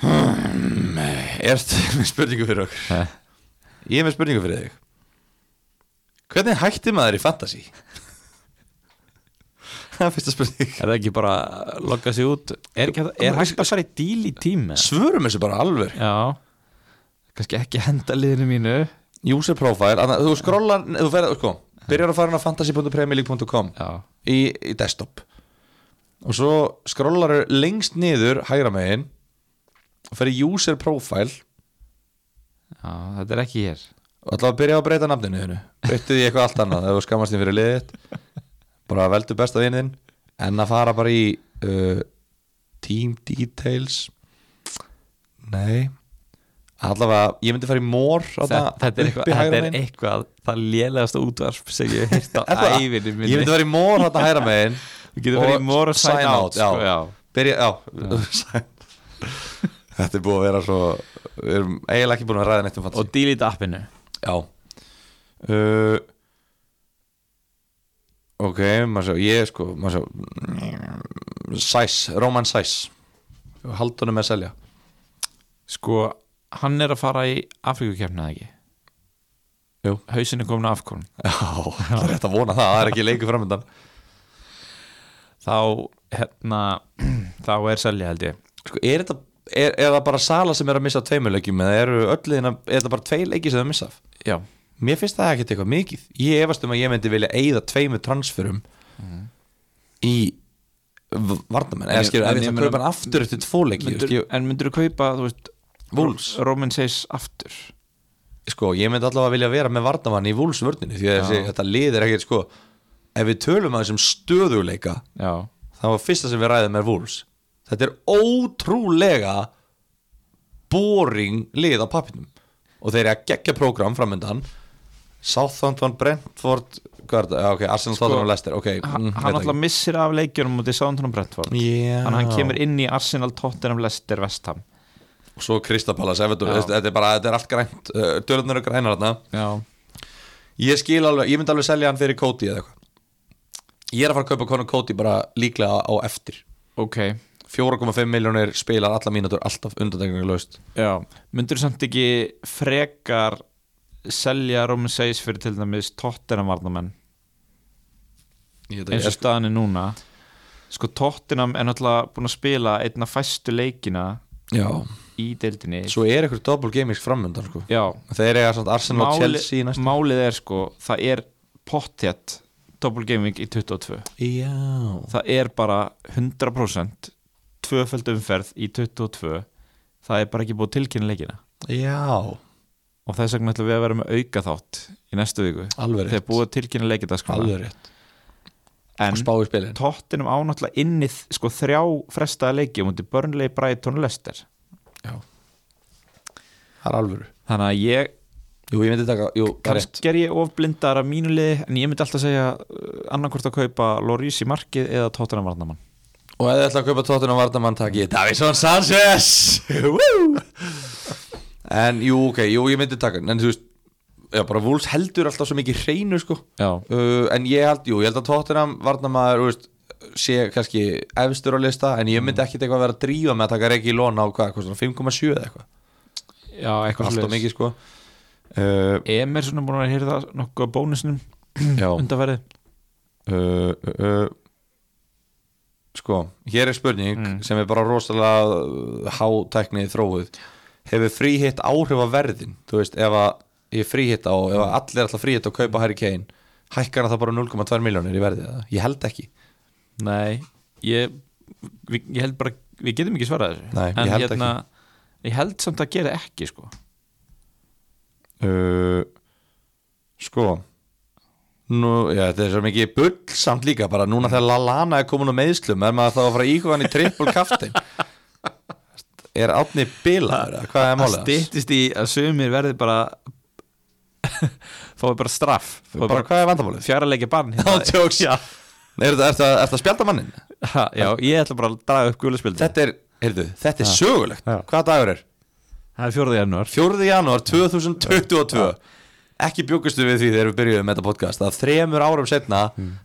B: Hmm, Ertu með spurningu fyrir okkur?
A: Nei.
B: Ég er með spurningu fyrir þig Hvernig hætti maður í fantasy? Það er fyrsta spurning
A: Er það ekki bara að logga sig út? Er, ekki, hægt- er hægt að fara í díl í tími?
B: Svörum þessu bara alveg
A: Já Kannski ekki henda liðinu mínu
B: User profile, annað, þú skrollar Þú ferð, sko, byrjar að fara inn á fantasy.premierleague.com
A: Já,
B: í, í desktop og svo skrollar lengst niður hægra megin og fer í user profile
A: já þetta er ekki hér
B: og ætlaðu að byrja á að breyta nafninu þínu breyttu því eitthvað allt annað ef þú skammast þín fyrir liðið þitt. bara veldu besta vinnin en að fara bara í uh, team details nei allavega, ég myndi fara í more
A: þetta,
B: þarna
A: þetta, er
B: uppi
A: eitthvað,
B: hægra
A: þetta
B: megin.
A: er eitthvað það lélegasta útvarp sem ég hef heyrt á
B: Er það?
A: ævinni minni
B: ég myndi fara í more þarna hægra megin
A: Þú getur farið í more og sign out,
B: já.
A: sko, já.
B: Byrja, já. Sign- þetta er búið að vera svo við erum eiginlega ekki búin að ræða neitt um
A: Og
B: fantasy
A: delete appinu
B: já uh, ok, maður svo ég sko, maður svo Sæs, Roman Sæs haldunum með selja
A: Sko, hann er að fara í Afrikukefna eða ekki?
B: Jú.
A: Hausin er komin að afkvörn
B: já, það er rétt að vona það, það er ekki leikur framöndan
A: þá hérna þá er selja held ég
B: sko, er þetta er, er það bara Sala sem er að missa af tveimur leikjum eða eru öll liðin að, er það bara tvei leiki sem það missa af
A: já,
B: mér finnst það ekkert eitthvað mikið ég efast um að ég myndi vilja eyða tveimur transferum í v-
A: Mhm.
B: varnamenn
A: En
B: eða
A: ég-
B: skilur,
A: en
B: ef
A: ég
B: ég það
A: meina-
B: kaupa hann aftur eftir tvo leiki
A: myndur,
B: skilur,
A: en myndur þú kaupa þú veist,
B: Wolves.
A: Roman Seis aftur
B: sko, ég myndi allavega vilja vera með varnamann í vúlsvörninu því að þessi, þetta liðir ekkert sko ef við tölum að þessum stöðuleika
A: já,
B: það var fyrsta sem við ræðum er vúls þetta er ótrúlega boring lið á pappinum og þeir eru að gegja prógram framöndan Southampton, Brentford hvað er þetta? Já, ok, Arsenal,
A: Sko,
B: Tottenham, Leicester ok,
A: hann
B: mm,
A: hann
B: veit
A: alltaf missir af leikjunum mútið Southampton og Brentford
B: ekki. Já.
A: Þannig að hann kemur inn í Arsenal, Tottenham, Leicester, Vestham
B: og svo Kristapalas, Everton,
A: Já.
B: veist, þetta er bara þetta er allt grænt, uh, dörðunar og grænar þarna
A: Já,
B: ég skil alveg, ég myndi alveg selja hann fyrir Cody eða eitthvað ég er að fara að kaupa Conor Cody bara líklega á eftir
A: ok
B: 4,5 miljónir spilar alla mínútur alltaf undandegninglega laust
A: Já, myndur samt ekki frekar selja Roman Seis fyrir til dæmis Tottenham varnamenn
B: Ég veit ekki,
A: eins og staðan er núna Sko Tottenham er náttúrulega búin að spila einna fæstu leikina
B: Já,
A: í deildinni
B: svo er eitthvað double gaming framöndan sko.
A: Já,
B: þeir eiga samt Arsenal og
A: máli,
B: Chelsea í næst
A: málið er sko það er pottjætt double gaming í 22
B: já,
A: það er bara 100% tvöföld umferð í 22 það er bara ekki búið að tilkynna leikina
B: já
A: og þess vegna ætlum við að vera með auka þátt í næstu viku
B: alveg
A: þegar
B: rétt,
A: búið að tilkynna leikina
B: alveg rétt. og
A: en
B: spáði spilin
A: tóttinum ánáttúrulega innið sko þrjá frestaða leiki mútið Burnley, Brighton og Leicester
B: það er alveg
A: þannig að ég,
B: jú, ég myndi taka, jú, það er rétt
A: kannski er ég ofblindar af mínu liði en ég myndi alltaf segja annarkvort að kaupa Lorís í markið eða tóttinum varnamann
B: og ef þið ætla að kaupa tóttun á vardamann takk ég Davison Sanchez Woo! en jú, ok, jú, ég myndi taka hann, en þú veist, já, bara Wolves heldur alltaf svo mikið hreinu sko
A: Já,
B: uh, en ég held, jú, ég held að Tottenham varnamaður, þú veist, sé kannski efstur á lista, en ég myndi ekkit eitthvað vera að drífa með að taka Regi Lón á hvað, hvað svona 5,7 eða eitthvað,
A: já eitthvað
B: alltaf
A: svolítið
B: mikið sko uh,
A: Emerson er búin að hýrða nokkuð af bónusnum
B: já uh,
A: undanverði
B: uh, uh, sko, hér er spurning
A: Mm.
B: sem er bara rosalega uh, hátæknið þróið hefur fríhitt áhrif á verðin þú veist, ef að ég fríhitt á ef
A: Mm.
B: að allir alltaf fríhitt á að kaupa Harry Kane hækkar hann það bara 0,2 miljónir í verðið ég held ekki
A: Nei, ég, vi, ég held bara við getum ekki svarað þessu
B: Nei, ég
A: en hérna,
B: held
A: ég held samt að gera ekki sko.
B: uh, sko Nú, já, þetta er svo mikið bull samt líka bara núna þegar Lalana er komin á meðslum er maður þá að fara að íkvæðan í triple kaftin er átni bilaður eða hvað er
A: að
B: málið hans?
A: stýttist í að sumir verði bara fáið bara straff fáið
B: bara
A: bara,
B: hvað er vandamálið
A: fjara leikja barn
B: Þá
A: hérna.
B: tjóks er þetta er þetta að spjálta mannin
A: ha, já, ég ætla bara að draga upp guðlaspildi
B: þetta er, heyrðu, þetta er sögulegt
A: Já.
B: hvaða dagur er?
A: það er fjóruði janúar
B: 4. janúar 2022 ekki bjókustu við því þegar við byrjuðum með þetta podcast að þremur árum setna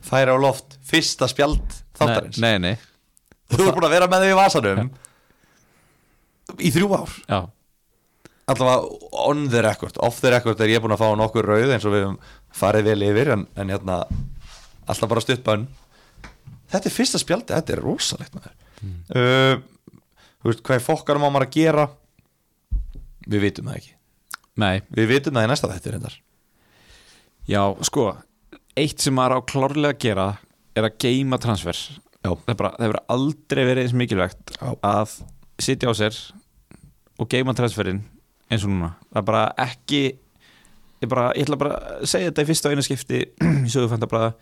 B: færa á loft fyrsta spjald þáttarins
A: Mm. nei, nei,
B: Þú ert búin að vera með þau í vasanum Í þrjú ár
A: já,
B: Allavega on the record Off the record er ég búin að fá nokkur rauð eins og við höfum farið vel yfir En, en hérna, alltaf bara stutt bönn Þetta er fyrsta spjaldi, þetta er rosalegt maður uh, Þú veist, hvað er fokkarum á maður að gera Við vitum það ekki
A: nei
B: Við vitum það í næsta þættir reyndar
A: já, sko, eitt sem maður á klárlega að gera er að geima transfer
B: Já.
A: það er bara, það hefur aldrei verið eins mikilvægt
B: Já.
A: að sitja á sér og geima transferinn eins og núna, það er bara ekki ég, bara, ég ætla bara að segja þetta í fyrsta og einu skipti í sögufænda bara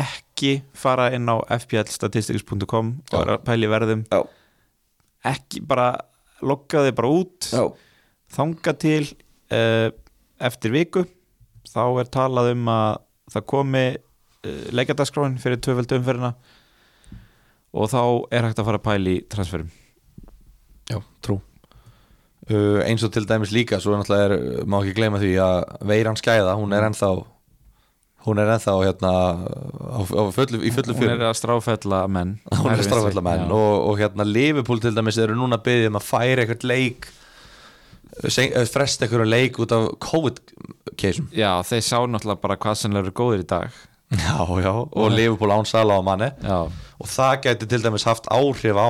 A: ekki fara inn á fplstatistics.com og
B: Já.
A: er að pæli verðum
B: Já.
A: ekki bara lokka þig bara út
B: Já,
A: þanga til uh, eftir viku þá er talað um að það komi uh, leikardagskráin fyrir tvöföldu umferðina og þá er hægt að fara að pæla í transferum
B: Já, trú uh, Eins og til dæmis líka Svo náttúrulega er, má ekki gleyma því að Veiran skæða, hún er ennþá Hún er ennþá hérna á, á fullu, Í fullu
A: hún
B: fyrir
A: er að stráfella menn
B: Hún er
A: Erfiðasti.
B: strafallar menn
A: Já.
B: og, og hérna Liverpool til dæmis eru núna byggðið um að færa eitthvað leik sen- eh, Fresta eitthvað leik út af COVID-keisum
A: já, þeir sá náttúrulega bara hvað sem eru góðir í dag
B: Já, já Og Liverpool án sala á manni
A: já,
B: Og það gæti til dæmis haft áhrif á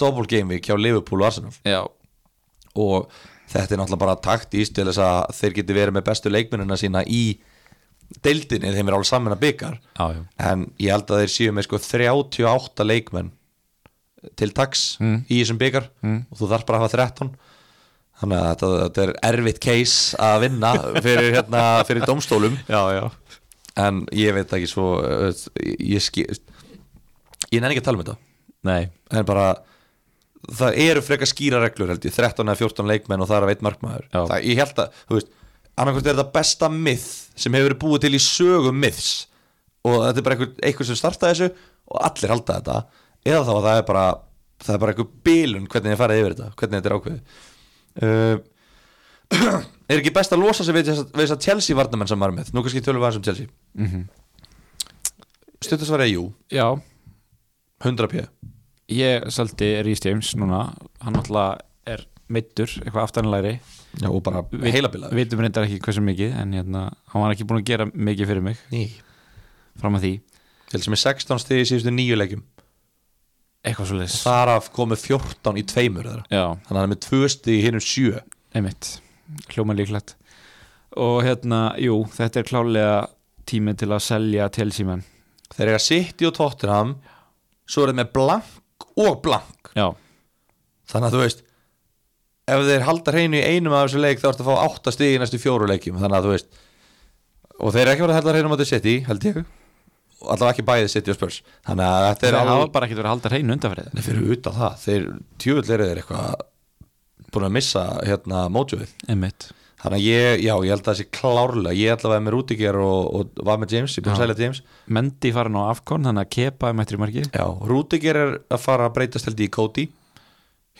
B: double game week hjá Liverpool og Arsenal
A: já,
B: og þetta er náttúrulega bara taktís til þess að þeir geti verið með bestu leikmennina sína í deildinni þeim er alveg saman að byggar
A: já, já.
B: en ég held að þeir séu með sko 38 leikmenn til dags
A: Mm.
B: í þessum byggar og þú þarf bara að hafa 13 þannig að þetta, þetta er erfitt case að vinna fyrir, hérna, fyrir domstólum
A: Já, já.
B: en ég veit ekki svo eh, ég, ski, ég nenni ekki að tala um þetta
A: Nei,
B: en bara það eru frekar skýra reglur held ég 13 eða 14 leikmenn og það er að veit markmaður
A: Já.
B: það, ég held að, þú veist, annarkvæmt er þetta besta mið sem hefur verið búið til í sögum miðs og þetta er bara einhver, einhver sem startaði þessu og allir halda þetta eða þá að það er bara það er bara einhver bilun hvernig þið farið yfir þetta hvernig þetta er ákveðið uh, er ekki best að losa sig við þess að, við þess að Chelsea varnamenn sem var með nú kannski tölum við aðeins um Chelsea mm
A: Mhm.
B: -hmm. stuttasvarið er jú,
A: já
B: 100 p
A: ég seldi Rhys James núna hann alltaf er meittur eitthvað aftanlæri
B: Já, og bara heilabilaður
A: vitum reyndar ekki hversu mikið en hérna, hann var ekki búin að gera mikið fyrir mig
B: Ný
A: fram að því,
B: Til sem er 16 stig í síðustu nýju leikjum
A: eitthvað svo leis
B: Þar af komu 14 í tveimur þeirra
A: já,
B: Þannig að hann er með tvö stig í hinnum sjö
A: einmitt, hljóma líklegt og hérna, jú þetta er klálega tími til að selja til símen,
B: Þeir eru að City og Tottenham Svo er þeir með blank og blank
A: já,
B: Þannig að þú veist Ef þeir halda hreinu í einum af þessu leik Þá ertu að fá 8 stig í næstu fjóru leikjum Þannig að þú veist Og þeir eru ekki verið að halda hreinu á þetta City, held ég Og allavega ekki bæðið City og Spurs Þannig að þetta
A: þeir
B: er
A: hafa
B: alveg
A: bara ekkert verið að halda hreinu undanfærið
B: Nei, fyrir utan það, þeir tjöfull eru þeir eitthvað Búin að missa hérna mótjöfið
A: einmitt,
B: Þannig að ég, já, ég held að það sé klárlega Ég ætla að vera með Rúdiger og, og var með James Ég búið
A: Já.
B: að sæla James
A: Mendy farin á Afkon þannig að kepa um eittir í markið
B: Já, Rúdiger er að fara að breytast held ég í Cody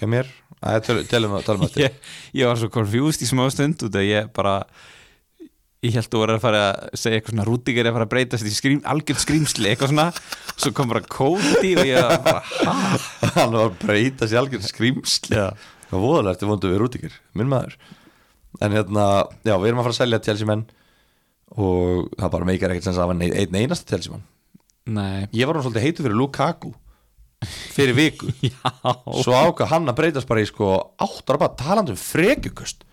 B: Hjá mér Æ, tölum, tölum, tölum eftir
A: ég, ég var svo confused í smá stund út að ég bara ég held að voru að fara að segja eitthvað svona Rúdíker er að fara að breytast í skrím, algjörn skrýmsli eitthvað svona, svo kom bara Cody og ég var bara, hæ?
B: Hann var að breyta sér algjörn skrimsli Hvað voðalega ertu vondu við Rúdiger Minn maður En hérna, já, við erum að fara að selja Chelsea menn Og það bara meikar ekkert sem að hafa nei- einn einasta Chelsea mann
A: Nei,
B: Ég var hann svolítið heitu fyrir Lukaku Fyrir viku
A: já
B: svo ákvað hann að breytast bara í sko áttar bara talandi um frekjukust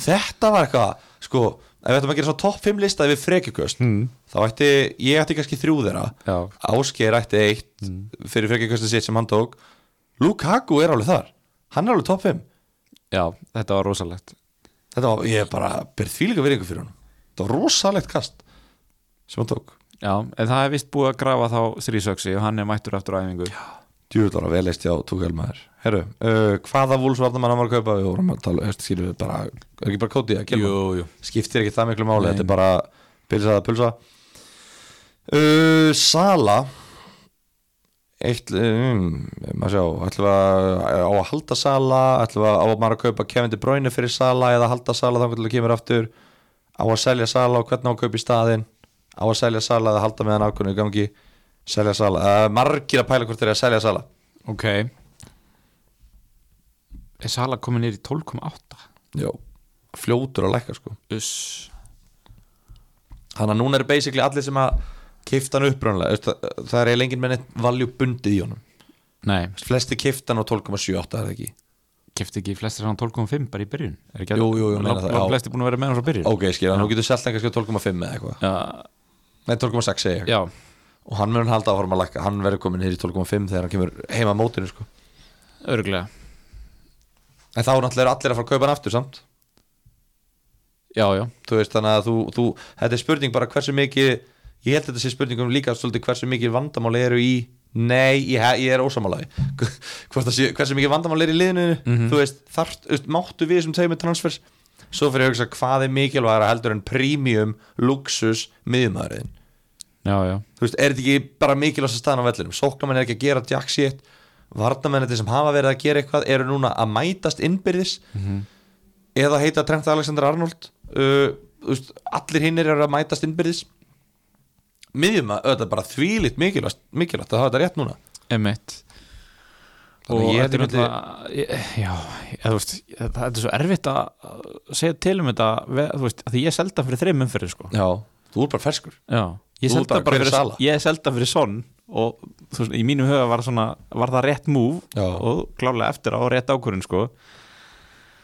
B: þetta var eitthvað sko, ef við ættum að gera svona topp 5 lista yfir frekjukust, þá ætti ég ætti kannski þrjú þeirra,
A: Já.
B: Ásgeir ætti eitt fyrir frekjukustu sitt sem hann tók Lukaku er alveg þar hann er alveg topp 5,
A: Já, þetta var rosalegt
B: þetta var, ég bara ber þvílíka virðingu fyrir hann, þetta var rosalegt kast sem hann tók
A: Já, en það er vist búið að grafa þá þrísöksi og hann er mættur eftir á æfingu Já,
B: djúvill var að velist já, Tuchel maður herru, uh, hvaða vúlsvarnamann hann var að kaupa við vorum að tala, hefst, skilur við bara er ekki bara kótið að kelma,
A: Jú, jú.
B: skiptir ekki það miklu máli,
A: Nei.
B: þetta er bara pilsaða pulsa uh, Sala eitt um, maður sjá, ætlum við að á að halda Sala, ætlum við að á að maður að kaupa Kevin De Bruyne fyrir Sala eða halda Sala þá hvernig kemur aftur á að selja Sala og hvernig á að kaupa í staðinn á að selja Sala eða halda með hann ákvörðu gangi selja Sala, uh, margir að pæla hvort þeir eru að selja Sala
A: ok Er Sala komin nýr í 12,8?
B: Já, fljótur að lækka sko
A: Uss
B: Þannig að núna eru basically allir sem að kifta hann upprönlega það, það er eiginlega enginn með neitt valjú bundið í honum
A: Nei,
B: Flesti kifta hann á 12,78 er það ekki
A: kefti ekki flestir hann 12,5 bara í byrjun Er ekki að-
B: Jú, jú, ég meina
A: Lang-
B: það,
A: lang-
B: já.
A: Flestir búin að vera með hann svo byrjun
B: Ok, skilja, nú getur selt hann kannski á 12,5 eða eitthvað
A: Já,
B: Nei, 12,6 segja ég
A: já,
B: Og hann mun halda áfram að lækka, hann verður komin hér í 12,5 þegar hann kemur heima á mótinu sko
A: örgulega
B: En þá náttúrulega eru allir að fara að kaupa hann aftur samt
A: Já, já,
B: Þú veist, þannig að þú, þú, þetta er spurning bara hversu mikið Ég held þetta sé spurning um líka svolítið hversu mikið vandamáli eru í Nei, ég, he- ég er ósamálaði Hversu mikið vandamáli eru í liðinu Þú veist, þart, veist, máttu við þessum tveimur transfers Svo fyrir ég að hugsa hvað er mikilvægara heldur en premium, luxus, miðumæðurinn
A: já, já
B: Þú veist, er þetta ekki bara mikilvægast staðan á vellinum Sóknamenn er ekki að gera jack shit Varnamennir sem hafa verið að gera eitthvað eru núna að mætast innbyrðis
C: Mhm.
B: eða heita Trent Alexander Arnold uh, þú veist, allir hinnir eru að mætast innbyrðis miðjum að auðvitað bara þvílitt mikilvægt, mikilvægt að hafa þetta rétt núna
A: Emitt
B: Þannig
A: Og
B: ég
A: þetta er
B: myndi-
A: náttúrulega ég- Já, ég, þú veist ég- það þetta er svo erfitt að að segja til um þetta ve- þú veist, af því ég selda fyrir þreim umferði sko
B: já, þú er bara ferskur
A: Já, ég
B: Þú
A: selda
B: bara,
A: bara
B: hver er
A: fyrir
B: Sala?
A: Ég selda fyrir Son
C: og þú veist, í mínum höfa var, svona, var það rétt múf
B: Já.
C: og klálega eftir á rétt ákvörðun sko.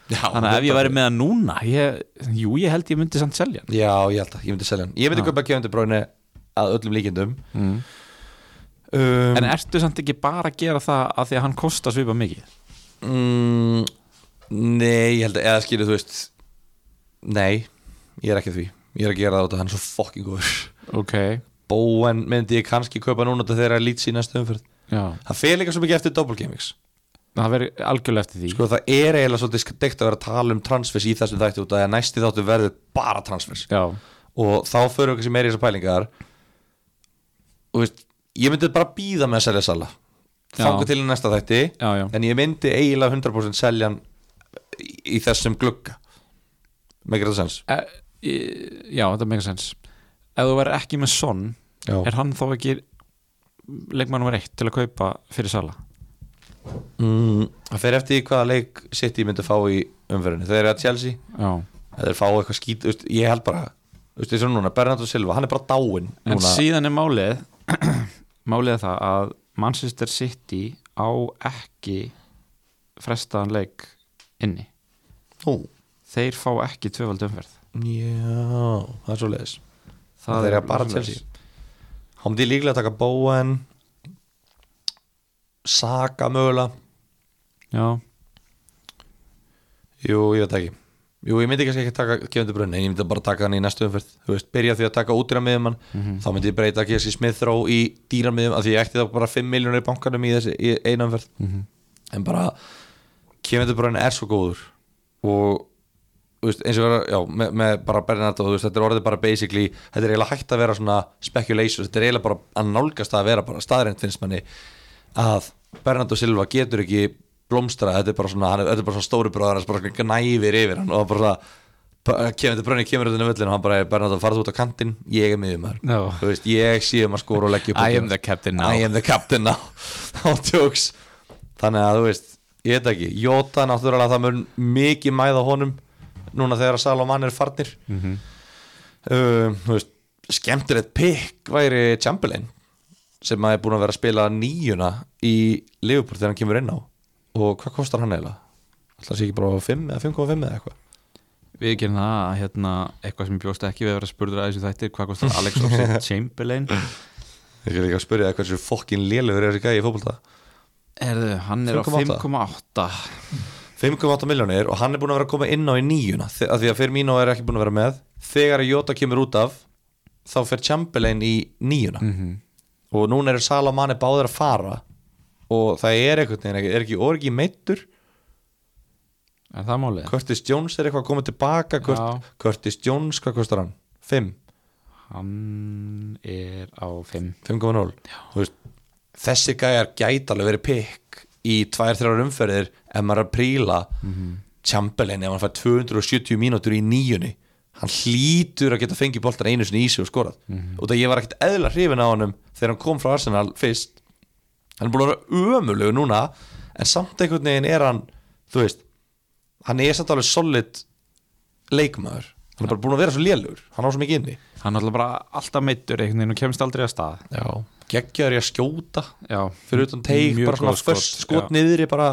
B: Já,
C: þannig að ef ég væri með það núna ég, jú, ég held ég myndi samt selja hann.
B: Já, ég held að, ég myndi selja hann Ég myndi köpa Kevin De Bruyne að öllum líkindum um,
C: en ertu samt ekki bara að gera það að því að hann kostar svipa mikið
B: mm, Nei, ég held að, eða skýrðu þú veist Nei, ég er ekki að því Ég er að gera það út að hann er svo fucking góður
A: ok,
B: Bóen myndi ég kannski köpa núna þetta þegar lít sína stöðumferð
A: já
B: Það fer líka svo mikið eftir double gamings
A: það verður algjörlega eftir því
B: Sko það er eiginlega svolítið deikt að vera að tala um transfers í þessum þætti út af því að næsti þáttu verður bara transfers
A: já,
B: og þá förum við kannski meira í þessar pælingar og veist ég myndi bara býða með að selja Sala þanga
A: Já.
B: til í næsta þætti
A: já, já,
B: en ég myndi eiginlega 100% selja hann í- í þessum glugga megar þetta sens
A: e, e- já þetta er mega sens ef þú verður ekki með son
B: Já.
A: er hann þá ekki leikmann nummer eitt til að kaupa fyrir sala
B: Mm, það fer eftir því hvaða leik City myndi fá í umferðinu þegar það er að Chelsea
A: já,
B: eða þeir fá eitthvað skít þú veist, ég held bara þú veist, eins og núna Bernardo Silva hann er bara dáinn
A: en
B: núna
A: síðan er málið málið er það að Manchester City á ekki frestaðan leik inni
B: Ó.
A: þeir fá ekki tvöfald umferð
B: Já, það er svo leiðis
A: Það
B: Það er
A: er
B: að bara
A: svoleiðis.
B: Chelsea Hann myndi líklega að taka Bowen Saka mögulega
A: já,
B: Jú, ég veit það ekki Jú, ég myndi kannski ekki taka Kevin De Bruyne En ég myndi bara taka hann í næstu umferð Þú veist, byrja því að taka útýramiðum hann
C: Mhm.
B: Þá myndi ég breyta Kessi Smithró í dýramiðum Af því ég ætti þá bara 5 miljónur í bankanum í þessi í einu umferð En bara Kevin De Bruyne er svo góður Og þú veist, eins og vera, já, með, með bara Bernardo, þú veist, þetta er orðið bara basically þetta er eiginlega hægt að vera svona speculation þetta er eiginlega bara að nálgast það að vera bara staðrænt finnst manni að Bernardo Silva getur ekki blómstra þetta er bara svona, hann er, þetta er bara svona stóri bróðar hans bara svona gnæfir yfir hann og bara svona kemur þetta brönni, kemur þetta völlin og hann bara Bernardo farðu út á kantinn, ég er miðjum þar
A: Já.
B: þú veist, ég sé um að skora og leggja upp
C: I
B: og
C: am
B: gera.
C: the captain now.
B: I am the captain now All jokes Þannig að þú veist, ég veit ekki Jóta náttúrulega það mun mikið mæða honum Núna þegar Salomon er farnir mm
C: Mhm.
B: Þú veist Skemmtilegt pikk væri Chamberlain Sem að er búin að vera að spila nýjuna Í Liverpool þegar hann kemur inn á Og hvað kostar hann eiginlega? Alltaf sé ekki bara 5 eða 5,5 eða eitthvað
C: við gerum það að hérna, eitthvað sem ég bjóst ekki við að vera spurður að þessu þættir hvað kostar Alex Oxlade Chamberlain
B: Ég er líka að spyrja það hversu fokkin lélugur er þessi gæði í fótbolta
C: Erðu, hann er á
B: 5,8.
C: 5,8
B: 5,8 miljónir og hann er búin að vera að koma inn á í nýjuna þe- af því að Firmino er ekki búin að vera með þegar að Jota kemur út af þá fer Chamberlain í nýjuna og núna eru Sala og Mane báðir að fara og það er eitthvað er ekki, er ekki orgi meittur
A: er það málið?
B: Curtis Jones er eitthvað að koma tilbaka
A: Já.
B: Kurt, Curtis Jones, hvað kostar hann? 5,
A: Hann er á 5
B: 5,0 Þú veist, þessi gæjar gæti alveg verið pikk í 2-3 umferðir ef maður er að príla Chamberlain ef hann fær 270 mínútur í nýjunni hann hlýtur að geta fengið boltan einu sinni í sig og skorað og það ég var ekkert eðla hrifin á honum þegar hann kom frá Arsenal fyrst hann er búin að vera ömulegu núna en samt einhvern veginn er hann þú veist, hann er samt alveg solid leikmaður hann er bara búin að vera svo lélugur, hann á svo mikið inni
C: hann er alltaf bara alltaf meittur einhvern veginn og kemst aldrei að stað
B: Já, geggjaður í að skjóta
C: já,
B: fyrir utan teik,
C: Mjög
B: bara svona
C: góð skot,
B: först skot
C: já.
B: niðri bara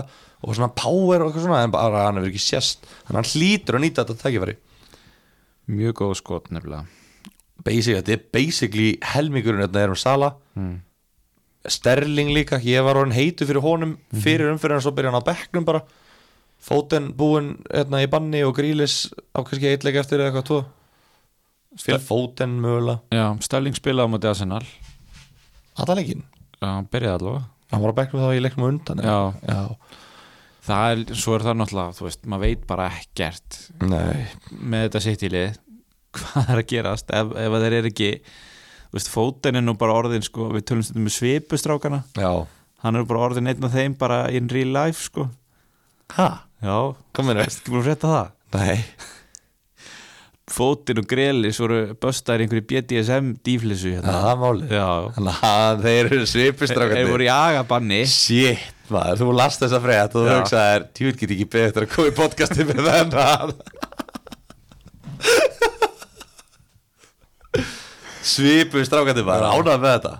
B: og svona power og eitthvað svona en bara hann hefur ekki sést þannig að hann hlýtur að nýta þetta tækifæri
C: mjög góð skot nefnilega
B: basically, þetta er basically helmingurinn þetta er um Sala
C: Hmm.
B: Sterling líka, ég var orðin heitu fyrir honum
C: Mhm.
B: fyrir umfyrir hann svo byrja hann á bekknum bara Fóten búinn hérna, í banni og Grílis á kannski eitleik eftir eða eitthvað tvo Phil Fóten mögulega
A: Já, Stelling spilaði á móti Arsenal
B: Aðalegin,
A: Já, hann byrjaði allavega
B: hann var á bekknum þá í leiknum á undan eða?
A: Já,
B: Já.
A: það er, svo er það náttúrulega, þú veist, maður veit bara ekkert
B: Nei,
A: með þetta sittilið hvað er að gerast ef, ef að þeir eru ekki þú veist, fótinn er nú bara orðin sko, við tölum stundum með svipustrákana
B: já
A: hann er bara orðin einn af þeim bara in real life sko,
B: Hæ?
A: já,
B: Kominu
A: ekki búin að frétta það
B: Nei
A: fótinn og grelis voru böstaðir í einhverju BDSM díflissu
B: Já,
A: hérna
B: það er málið
A: já,
B: Þannig að þeir eru
A: þeir
B: svipistrákandi
A: voru í agabanni
B: Shit maður, þú last þessa frétt og þú
A: Já.
B: hugsaðir Tjúl get ég ekki beðið eftir að koma í podcasti með þennan Svipustrákandi maður, ánað með þetta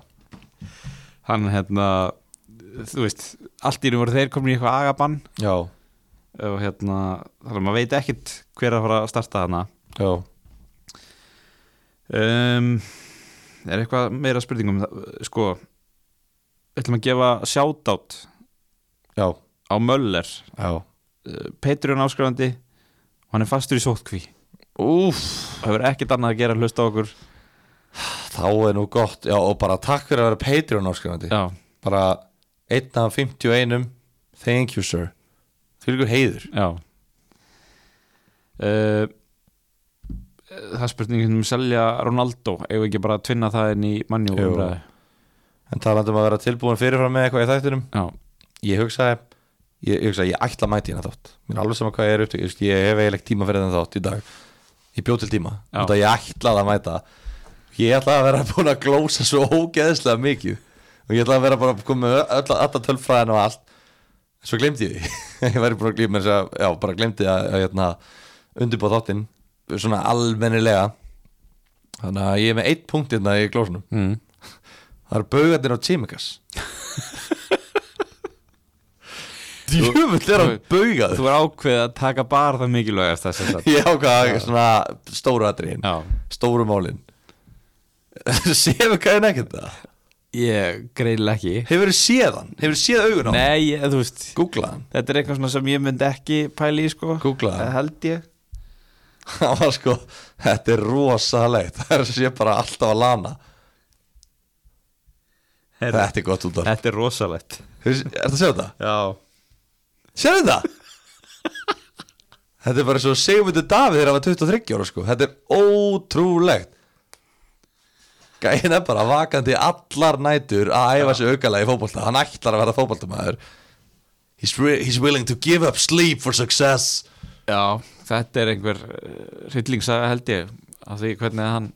A: hann hérna þú veist, allt í raun voru þeir komin í eitthvað agabann
B: já,
A: og hérna, þannig að maður veit ekkit hver er að fara að starta hana
B: já
A: um, Er eitthvað meira spurningum sko, ætlum að gefa shoutout
B: já,
A: á Möller
B: já
A: Uh, Patreon áskrifandi og hann er fastur í sótkví
B: Úf,
A: og hefur ekkert annað að gera en hlusta á okkur
B: þá er nú gott já, og bara takk fyrir að vera Patreon áskrifandi
A: Já,
B: bara einn af 51 thank you sir fyrir heiður
A: já uh, Það er spurningin um selja Ronaldo eigum við ekki bara að tvinna það inn í mannjú
B: Jú.
A: umræði
B: en talandum að vera tilbúin fyrirfram með eitthvað í þættinum
A: Já,
B: ég hugsaði ég, ég hugsaði, ég ætla að mæti hérna þátt mér er alveg saman hvað ég er upptökk, ég, veist, ég hef eiginlega tíma fyrir þennan þátt í dag ég bjóð til tíma,
A: Já.
B: þetta ég ætlaði að mæta ég ætlaði að vera búin að glósa svo ógeðslega mikið og ég ætlaði að vera bara að koma með öll, alla tölfræðin og allt en svo glemdi ég því ég væri búin að glemja þess að, já, bara glemdi að, að hérna, undirbúa þáttinn svona almennilega þannig að ég er með eitt punkt hérna í glósunum
A: mm.
B: það eru baugarnir á Tímikas Djöfull er hann baugað
A: Þú er ákveðið að taka bara það mikilvægast þess að
B: Ég ákvað svona stóru atriðin
A: Já,
B: Stóru málin Séðu hvað er nekkert það?
A: ég greiðlega ekki
B: Hefur séð hann? Hefur séð augun á hann?
A: Nei, ég, þú veist
B: Googlað hann
A: Þetta er eitthvað svona sem ég myndi ekki pæli í sko
B: Googlaðu.
A: Það held ég
B: Það var sko Þetta er rosalegt Það er að sé bara alltaf að lana Þetta er gott út af
A: Þetta er rosalegt
B: Er þetta að sjá þetta?
A: Já
B: Sérðu það? þetta er bara svo Sigmundur Davíð þegar hann var 23 ára sko Þetta er ótrúlegt Gæin er bara vakandi allar nætur að æfa sig aukalega í fótbolta Hann ætlar að vera fótboltamæður he's, re- he's willing to give up sleep for success
A: Já, þetta er einhver hryllingsaga held ég af því hvernig hann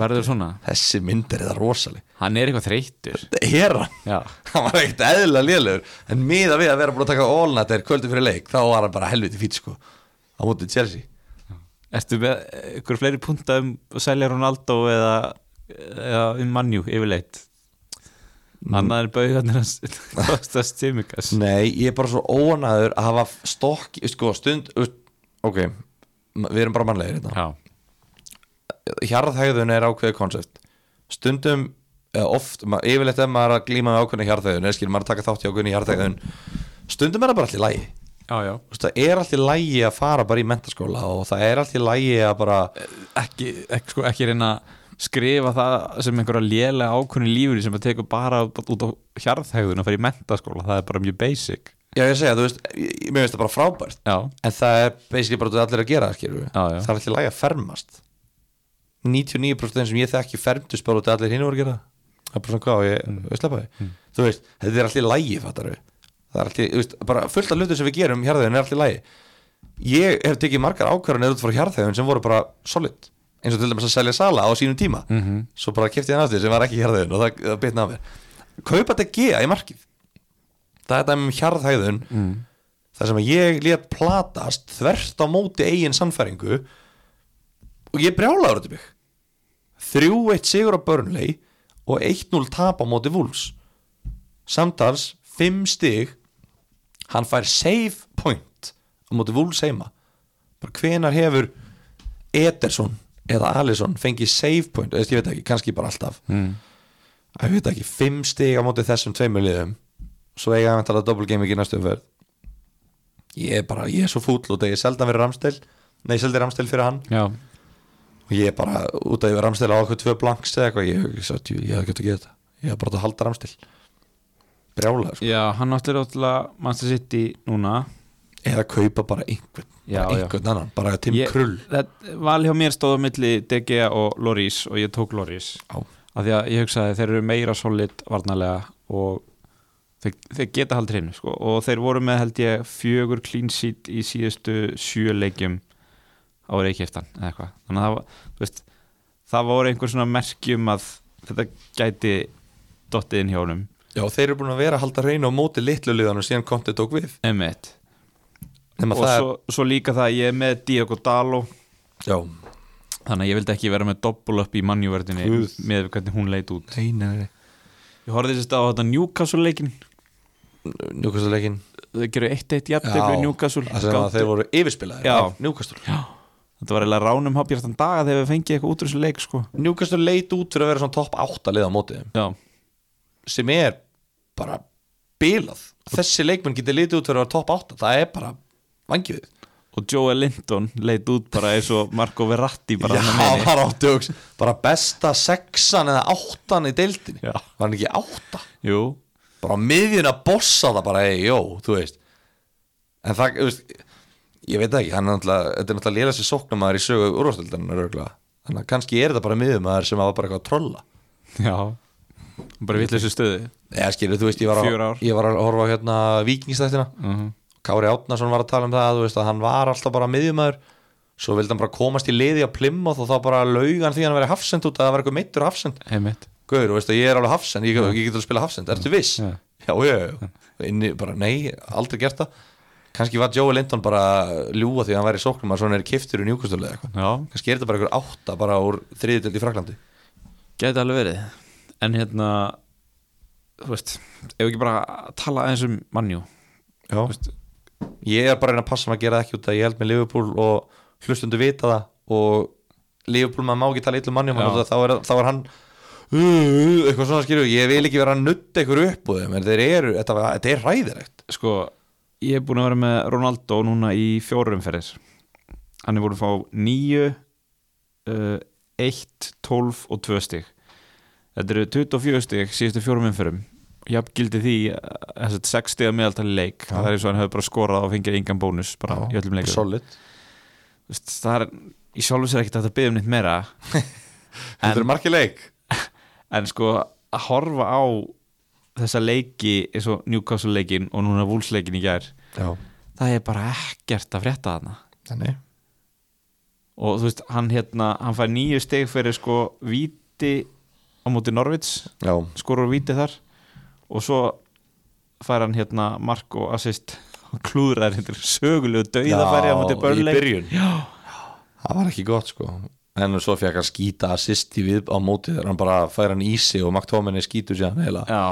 A: verður svona
B: Þessi mynd er þetta rosaleg
A: Hann er eitthvað þreyttur
B: Þetta er hann
A: Já,
B: Hann var ekkert eðlilega lélegur En miða við að vera búin að taka all-nighter kvöldi fyrir leik Þá var hann bara helviti fýt sko Á mótið Chelsea
A: ertu með einhver fleiri punta um að selja Ronaldo eða, eða um mannjú yfirleitt Annað er bauðanir hans kostast tímikas
B: Nei, ég er bara svo óanæður að hafa stokk, sko, stund Ok, m- við erum bara mannlegir þetta
A: Já,
B: Hjarðhæðun er ákveðið konsept Stundum, eða oft, ma- yfirleitt ef maður er að glíma með ákveðinu hjarðhæðun Eða skil, maður er að taka þátt í ákveðinu hjarðhæðun Stundum er það bara allt í lægi
A: já, já
B: Það er allt í lægi að fara bara í mentaskóla Og það er allt í lægi að bara
A: Ekki, ekki, sko, ekki reyna að skrifa það sem einhverja lélega ákunni lífur sem að tekur bara út á hjarðhægðun og fer í mentaskóla, það er bara mjög basic
B: Já, ég segja, þú veist, ég, ég- mér finnst það bara frábært
A: Já,
B: En það er basically bara út af allir að gera það, skilur við
A: Já, já.
B: Það er allir lægi að fermast 99% þeim sem ég þekki fermtust bara út af allir hinn voru að gera það. Það er bara svona hvað, og ég mm. sleppa því Þú veist, þetta er allir lægi, fattar við Það er allir, þú veist, bara fullt af hlutum sem við gerum Hjarðhæðin er allir lægi Ég hef tekið margar ákvarðanir út frá hjarðhæðin sem voru bara solid eins og til dæmis að selja sala á sínum tíma
A: Mhm.
B: svo bara kefti hann aftur sem var ekki hjarðhæðin og það, það bitna af mér Kaupa þetta gea í markið Það er þetta um hjarðhæðun
A: Mm.
B: þar sem að ég lét platast þvert á móti eigin sannfæringu og ég brjálaður þetta mig 3-1 sigur á Burnley og 1-0 tap á móti Wolves samtals 5 stig hann fær save point á móti Wolves heima bara hvenar hefur Ederson eða Alisson fengið save point, Þú veist, ég veit ekki, kannski bara alltaf
A: mm.
B: að við veit ekki, fimm stig á móti þessum tveimur liðum svo eiga hann tala double gaming í næstu umferð ég er bara, ég er svo fúll og þegar ég seldi hann fyrir Ramstel nei, ég seldi Ramstel fyrir hann
A: Já,
B: og ég er bara, út af ég var Ramstel á okkur tvö blanks eða eitthvað, ég, ég, ég, ég hef gett að gera þetta ég hef bara átt að halda Ramstel brjálaður, sko.
A: já hann áttir ótrúlega Manchester City núna
B: eða kaupa bara einhvern
A: Já,
B: bara
A: já.
B: einhvern annan, bara Tim
A: Ég-
B: Krull
A: Þetta val hjá mér stóð á milli DG og Loris og ég tók Loris
B: Já.
A: af því að ég hugsaði þeir eru meira solid varnarlega og þeir, þeir geta haldið hreinu sko. og þeir voru með held ég fjögur clean sheet í síðustu sjö leikjum á reykjæftan eða eitthvað þannig að það, var- þú veist, það voru einhver svona merkjum að þetta gæti dottið inn hjá honum
B: já, þeir eru búin að vera að halda reyna á móti litlu liðanum síðan kontið tók við
A: emitt
B: nema
A: og
B: það
A: svo, svo líka það að ég er með Diogo Dalo
B: er, já,
A: þannig að ég vildi ekki vera með doppul upp í mannjúverðinni
B: Guð.
A: með hvernig hún leit út
B: Nei, nei, nei
A: Ég horfði sérst á þetta Newcastle leikin
B: Newcastle-leikin
A: Þau gerðu 1-1 jafntefli Newcastle
B: sem að þeir voru yfirspilaðir
A: Já.
B: af Newcastle
A: Þetta var eiginlega ránum hafbjartan daga þegar við fengið eitthvað út úr þessu leik sko.
B: Newcastle leit út fyrir að vera svona topp 8 lið á mótið þeim,
A: Já,
B: sem er bara bilað þessi leikmenn getur litið út fyrir að vera topp 8 það er bara vangjöð
A: og Joel Linton leit út bara eins og Marco Verratti bara
B: Já,
A: þarna meðinni.
B: var áttjóks bara besta sexan eða áttan í deildinni
A: Já.
B: var hann ekki átta
A: Jú,
B: bara á miðjun að bossa það bara hey, jó, þú veist en það, þú veist ég veit það ekki, hann er náttúrulega, þetta er náttúrulega lélega sér sóknamaður í sögu úrvastöldinu röglega þannig að kannski er þetta bara miðjumæður sem var bara eitthvað að trolla
A: já Bara vill þessu stöðu
B: eða skilur, þú veist, ég var,
A: Fjögur ár. Mhm.
B: að, ég var að horfa á hérna vikingstættina Kári Átnason var að tala um það, þú veist, að hann var alltaf bara miðjumæður svo vildi hann bara komast í liði að plimma og þá bara laugan því hann verið hafsend út að það var eitthvað meittur hafsend
A: Heimitt
B: Guður, þú veist að ég er alveg hafsend, ég, ég getur að spila hafsend, ertu viss?
A: Já.
B: Já, já, já, inni bara, nei, aldrei gert það Kanski var Joey Linton bara að ljúga því að hann væri í sóknum að svona er kiftur í njúkustölu eða eitthvað
A: Já,
B: Kanski er þetta bara einhver átta bara úr þriðitöld í Fraklandi
A: gæti alveg verið En hérna Þú veist, ef við ekki bara að tala aðeins um mannjú
B: Já Ég er bara að reyna að passa mig að gera það ekki út að ég held með Liverpool og hlustundu vita það og Liverpool maður má ekki tala illum manni um
A: Já.
B: hann, þá, er, þá er hann "Uh, uh," eitthvað svona skilur, ég vil ekki vera að nutta ykkur upp úr þeim, en þeir eru, þetta, var- þetta er ræðilegt
A: Sko, ég er búin að vera með Ronaldo núna í fjórumferðis Hann er búin að fá nýju uh, Eitt, tólf og tvö stig Þetta eru 24 stig síðustu fjórumferðum Jafn gildi því eh, þess að sex stiga meðaltali leik það er eins og hann hefur bara skorað og fengið engan bónus bara í öllum leikum
B: Solid,
A: Þú veist, það er í sjálfu sér ekkert hægt að byggja um neitt meira
B: þetta eru margir leik
A: en sko að horfa á þessa leiki eins og Newcastle leikin og núna Wolves leikin í gær
B: Já,
A: það er bara ekkert að frétta þarna
B: þannig
A: og þú veist, hann hérna hann fær nýju steg fyrir sko víti á móti Norvits
B: Já,
A: skorur víti þar og svo fær hann hérna mark og assist og klúðrar hérna sögulegu döiðafæri á móti
B: Já, í
A: Burnley
B: byrjun.
A: Já,
B: það var ekki gott sko En svo fekk hann skýta assist í við á móti þegar hann bara fær hann í sig og Magtóminni skýtur sér hann heila
A: já,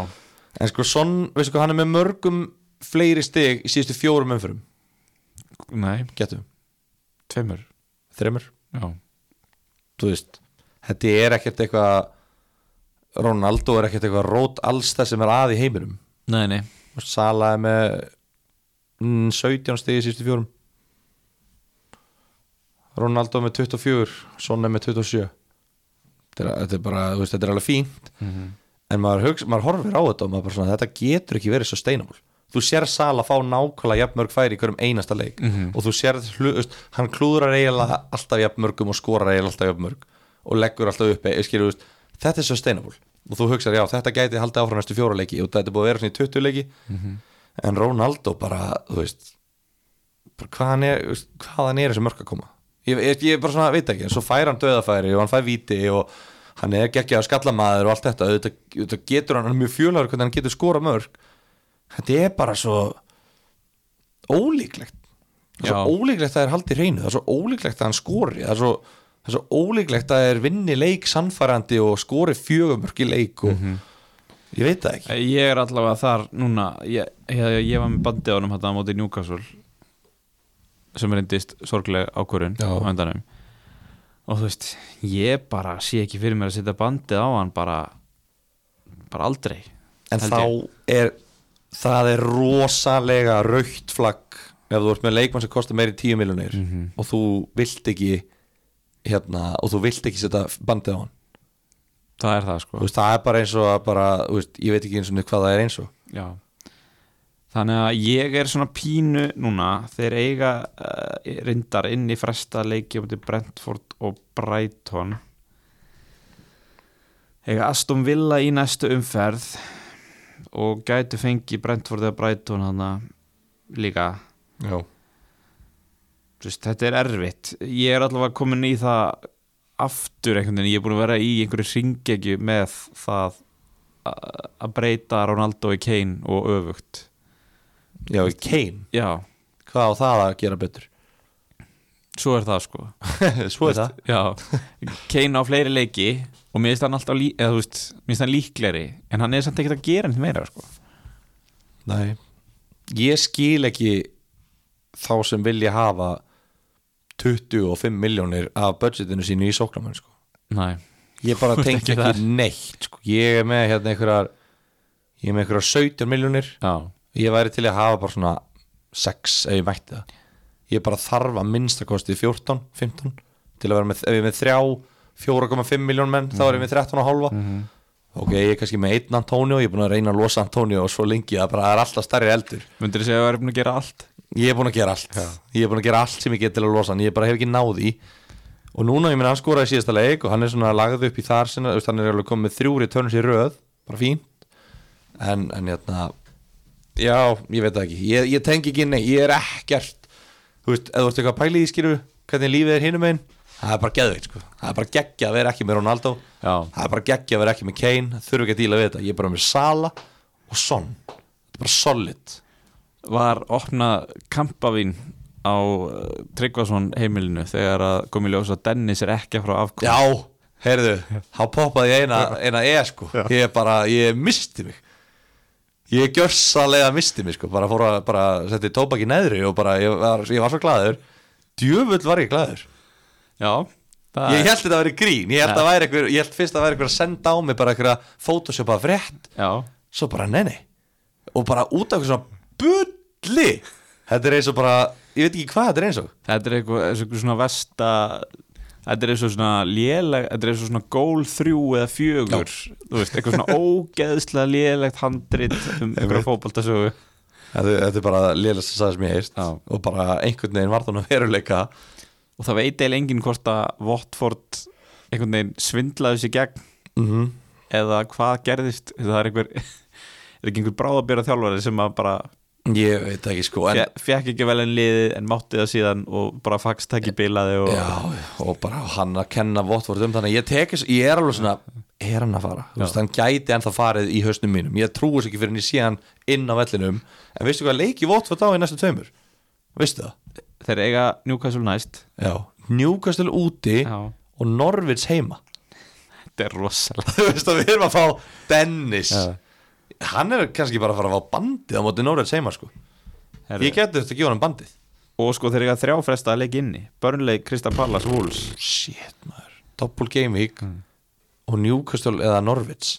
B: En sko, Son, veistu hvað, hann er með mörgum fleiri stig í síðustu fjórum umfyrum
A: nei,
B: Getum,
A: tveimur
B: þreymur
A: já,
B: Þú veist, þetta er ekkert eitthvað Ronaldo er ekkert eitthvað rót alls það sem er að í heiminum
A: nei, nei
B: Og Sala er með mm, 17 stig í síðustu fjórum Ronaldo með 24 Son er með 27 Þetta er, þetta er bara, þú veist, þetta er alveg fínt En maður, hugsa, maður horfir á þetta og maður bara svona, þetta getur ekki verið svo steinamál Þú sér Sala fá nákvæmlega jafnmörg færi í hverjum einasta leik og þú sér hlu, þú veist, hann klúðrar eiginlega alltaf jafnmörgum og skorar eiginlega alltaf jafnmörg og leggur alltaf upp eh, skilur, þú veist, þetta er svo steinamál og þú hugsar, já, þetta gæti haldið áfram næstu fjóra leiki og þetta er búið að vera svona í 20 leiki en Ronaldo bara, þú veist bara hvaðan er, þú veist, hvaðan er þessi mörg að koma ég, ég, ég bara svona veit ekki, en svo fær hann döðafæri og hann fær víti og hann er geggjað skallamaður og allt þetta auðvitað, auðvitað getur hann, hann er mjög fjölaður hvernig hann getur skora mörg þetta er bara svo ólíklegt það er
A: Já.
B: svo ólíklegt að það er haldið hreinu það er svo ólíklegt að hann skori það er svo, það er svo ólíklegt að það er vinni leik sannfærandi og skori fjögumörk í leik og ég veit það ekki
A: Eh, Ég er allavega þar núna Ég, ég, ég var með bandið á honum þetta á móti Newcastle sem reyndist sorgleg ákvörun
B: Já.
A: á endanum og þú veist, ég bara sé ekki fyrir mér að setja bandið á hann bara bara aldrei
B: En
A: held
B: þá
A: ég.
B: er það er rosalega raukt flagg ef þú ert með leikmann sem kostar meiri 10 miljonir
A: Mhm.
B: og þú vilt ekki hérna, og þú vilt ekki setja bandið á hann
A: það er það
B: Þú
A: sko
B: veist, það er bara eins og að bara, þú veist, ég veit ekki eins og niður hvað það er eins og
A: Já. Þannig að ég er svona pínu núna þeir eiga uh, reyndar inn í fresta leiki á móti Brentford og Brighton eiga Aston Villa í næstu umferð og gætu fengi Brentford eða Brighton hana líka
B: Já,
A: Þú veist, þetta er erfitt ég er allavega komin í það aftur einhvern veginn, ég er búin að vera í einhverju syngegju með það að að breyta Ronaldo í Kane og öfugt
B: Já í Kane,
A: Já,
B: hvað á það að gera betur?
A: svo er það sko
B: Svo er það
A: Já, Kane á fleiri leiki og mér finnst hann alltaf lí, eða, þú veist, mér finnst hann líkleri en hann er samt ekkert að gera neitt meira sko.
D: Nei
B: ég skil ekki þá sem vilja hafa 25 miljónir af budgetinu sínu í sóknarmenn sko.
A: Nei,
B: ég bara tengi ekki,
A: þar.
B: neitt sko. ég er með hérna einhverjar ég er með einhverjar 17 miljónir
A: já,
B: ég væri til að hafa bara svona 6 ef ég mætti það ég bara þarf að minnstakosti 14, 15 til að vera með, ef ég er með 3 4,5 miljón menn, þá er ég með 13 og halva ok, ég er kannski með einn Antonio ég er búin að reyna að losa Antonio og svo lengi að bara það er alltaf stærri eldur
A: myndir þið segja að það er búin að gera allt
B: ég er búin að gera allt ég er búin að gera allt sem ég get til að losa hann ég bara hef ekki náð í og núna, ég minn, hann skoraði síðasta leik og hann er svona lagð upp í þar sinna, þú veist, hann er alveg komið með þrjúri törnus í röð, bara fínt en, en hérna já, ég veit það ekki, ég, ég tengi ekki nei, ég er ekkert þú veist, ef þú ert eitthvað pæli í skýru hvernig lífið er hinum einn, það er bara geðveikt sko. það er bara geggja að vera ekki með Ronaldo
A: Já.
B: það er bara geggja að vera ekki með Kane það þurfi ekki að díla við þetta, ég er bara með Sala og Son, þetta er bara solid
A: var opna kampavín á uh, Tryggvason heimilinu þegar að komi ljós að Dennis er ekki frá afkom
B: Já, heyrðu, þá poppaði ég eina, eina E sko, ég bara, ég misti mig Ég gjörsalega misti mig sko, bara fór að, bara setti tóbaki neðri og bara, ég var, ég var svo glaður Djöfull var ég glaður
A: Já, það
B: Ég held þetta að vera grín, ég held, að væri einhver, ég held fyrst að væri einhver að senda á mig bara einhverja photoshopa frétt
A: Já,
B: Svo bara, nei, nei Og bara út af einhver svona bulli Þetta er eins og bara, ég veit ekki hvað þetta er eins og
A: þetta er eitthvað, þessu eitthvað svona vesta Þetta er eins og svona léleg, þetta er eins og svona gól þrjú eða fjögur Þú veist, eitthvað svona ógeðslega lélegt handrit um einhverja fótboltasögu
B: Þetta þetta er bara lélæst að sagði sem ég heist
A: Já.
B: Og bara einhvern veginn var þannig að veruleika
A: og það veit eiginlega enginn hvort að Votford einhvern veginn svindlaði sér gegn
B: Mhm.
A: eða hvað gerðist það er einhver er ekki einhver bráðabjörða þjálfari sem að bara
B: Ég veit ekki sko en,
A: fe, fekk ekki vel en liðið en mátti það síðan og bara faxtæki bilaði og
B: já, Og bara hann að kenna Votvort um þannig að ég, tekis, ég er alveg svona Er hann að fara? Þú Veist, hann gæti ennþá farið í hausnum mínum Ég trúi þess ekki fyrir en ég sé hann inn á vellinum En veistu hvað leiki Votvort á í næstu tveimur? Veistu það?
A: þeir eiga Newcastle næst
B: Já Newcastle úti
A: Já.
B: og Norvids heima
A: þetta er rosalega
B: Þú veist að við erum að fá Dennis Hann er kannski bara að fara að fá bandið á móti Norvids heima sko
A: Herri.
B: Ég geti þetta að gefa hann bandið
A: og sko þeir eiga þrjá fresta að leik inni Burnley, Krista Pallas, Wolves
B: shit maður Doppel Game Week og Newcastle eða Norwich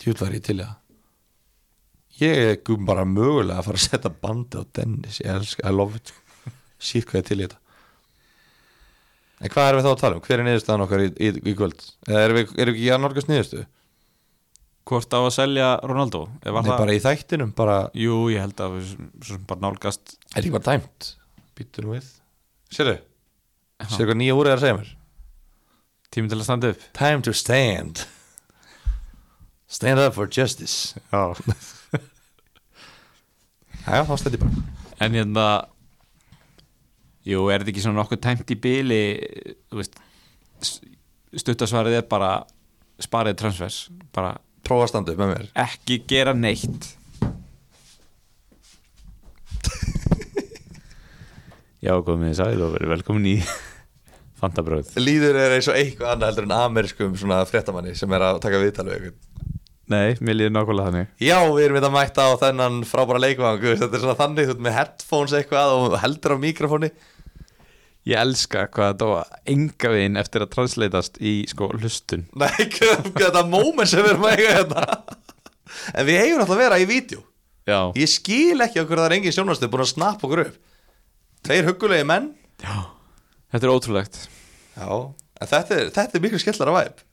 B: djúl var ég til í það ég er gum bara mögulega að fara að setja bandi á Dennis ég elska, I love it síð hvað ég er til í þetta en hvað erum við þá að tala um? hver er niðurstaðan okkar í, í, í kvöld? eða erum við, erum við ekki að norgast niðurstu?
A: hvort á að selja Ronaldo Nei,
B: nei bara í þættinum bara,
A: jú ég held að við svo sem bara nálgast
B: er ekki bara dæmt býtur við sérðu, sérðu hvað nýja úr er að segja mér
A: tími til að standa upp
B: Time to stand Stand up for justice Já Já, þá stend ég bara
A: En hérna Jú, er þetta ekki svona nokkuð tæmt í byli Þú veist s- Stuttasvarið er bara Sparið transfers Bara
B: Prófa að standa upp með mér
A: ekki gera neitt Já, komið þið sæl og verið velkomin í Fantabröð
B: Líður er eins og eitthvað annað heldur en amerískum svona fréttamanni sem er að taka viðtal við einhvern.
A: Nei, mér líður nákvæmlega þannig
B: Já, við erum þetta að mæta á þennan frábæra leikvang þú veist, Þetta er svona þannig, þú ert með headphones eitthvað og heldur á mikrofóni
A: Ég elska hvað þetta var enga veginn eftir að transleitast í sko hlustun
B: Nei, hvað- hvað þetta moment sem við erum að eiga hérna En við eigum alltaf að vera í vídeo
A: Já,
B: Ég skil ekki okkur það er engin sjónastu búin að snappa okkur upp Tveir huggulegi menn
A: þetta er ótrúlegt
B: Já, en þetta er, þetta er miklu skellara væp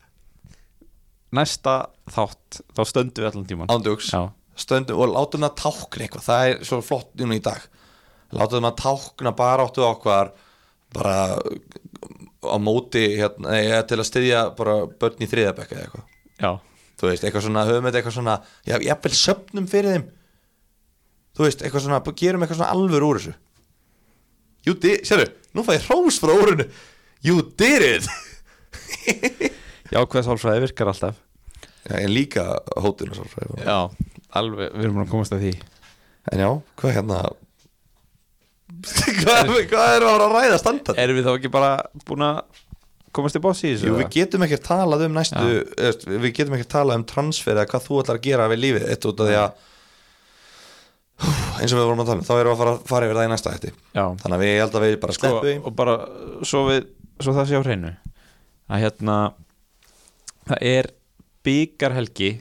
A: Næsta þátt, þá stöndum við allan tíman
B: Ándugs
A: Já.
B: Stöndum og látum það tákna eitthvað Það er svo flott núna í dag Látum það tákna bara áttu okkar Bara á móti hérna, nei, eða til að styðja bara börn í þriðabekka eða eitthvað
A: Já,
B: Þú veist, eitthvað svona, höfum þetta eitthvað svona Já, jafnvel söpnum fyrir þeim Þú veist, eitthvað svona, bara gerum eitthvað svona alvöru úr þessu You did, sérðu, nú fæ ég hrós frá úrinu You did it
A: Jákvæða sálfræði virkar alltaf
B: Já, En líka hótinu svo fræði
A: Já, alveg, við erum búin að komast að því
B: En já, hvað hérna hvað, hvað erum við að fara að ræða standart?
A: Erum við þá ekki bara búin að komast í bossi í þessu
B: Jú, við
A: eða?
B: getum ekki talað um næstu eðst, við getum ekki talað um transfer eða hvað þú ætlar að gera við lífið eitt út af því að eins og við vorum að tala um, þá erum við að fara, fara yfir það í næsta hætti
A: Já.
B: þannig að við ég held að við bara
A: sko,
B: sleppu
A: og bara svo, við, svo það sé á hreinu að hérna það er byggarhelgi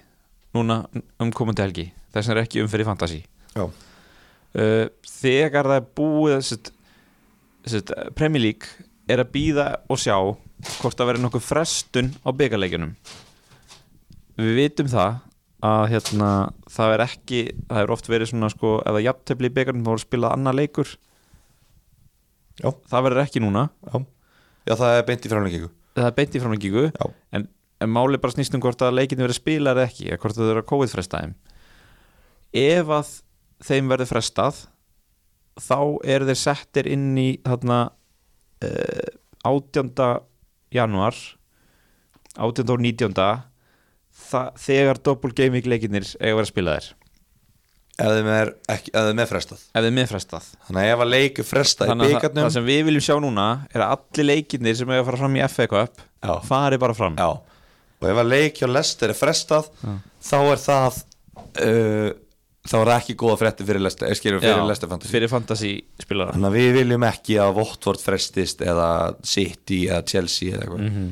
A: núna um komandi helgi þess að er ekki um umfyrir fantasi
B: Já.
A: uh, þegar það er búið sett, sett, Premier League er að býða og sjá hvort það verður nokkuð frestun á byggarleikjunum við vitum það að hérna, það er ekki það er oft verið svona sko ef það jafntefli í byggarnum þá voru spilað annar leikur
B: Já.
A: það verður ekki núna
B: í já, það er beint í framlengingu
A: það er beint í framlengingu
B: Já.
A: en, en máli bara snýst um hvort að leikinu verið spilar eða ekki, eða hvort þau eru að COVID fresta þeim ef að þeim verður frestað þá eru þeir settir inn í þarna uh, 18. januar 18. og 19. Þa, þegar double gaming leikinir eiga að vera spilaðir
B: ef þeim er, ekki, ef þeim er frestað
A: ef þeim er frestað
B: þannig að ef að leiku frestað í
A: þannig að það,
B: byggarnum
A: það sem við viljum sjá núna er að allir leikinir sem eiga að fara fram í FA Cup
B: Já.
A: fari bara fram
B: já, og ef að leik hjá Lester er frestað þá er það uh, þá er það ekki góða frétti fyrir Lester, eh, skilur fyrir
A: Já,
B: Lester fantasy
A: fyrir fantasy spilara
B: þannig að við viljum ekki að Votvort frestist eða City eða Chelsea eða eitthvað
A: Mhm.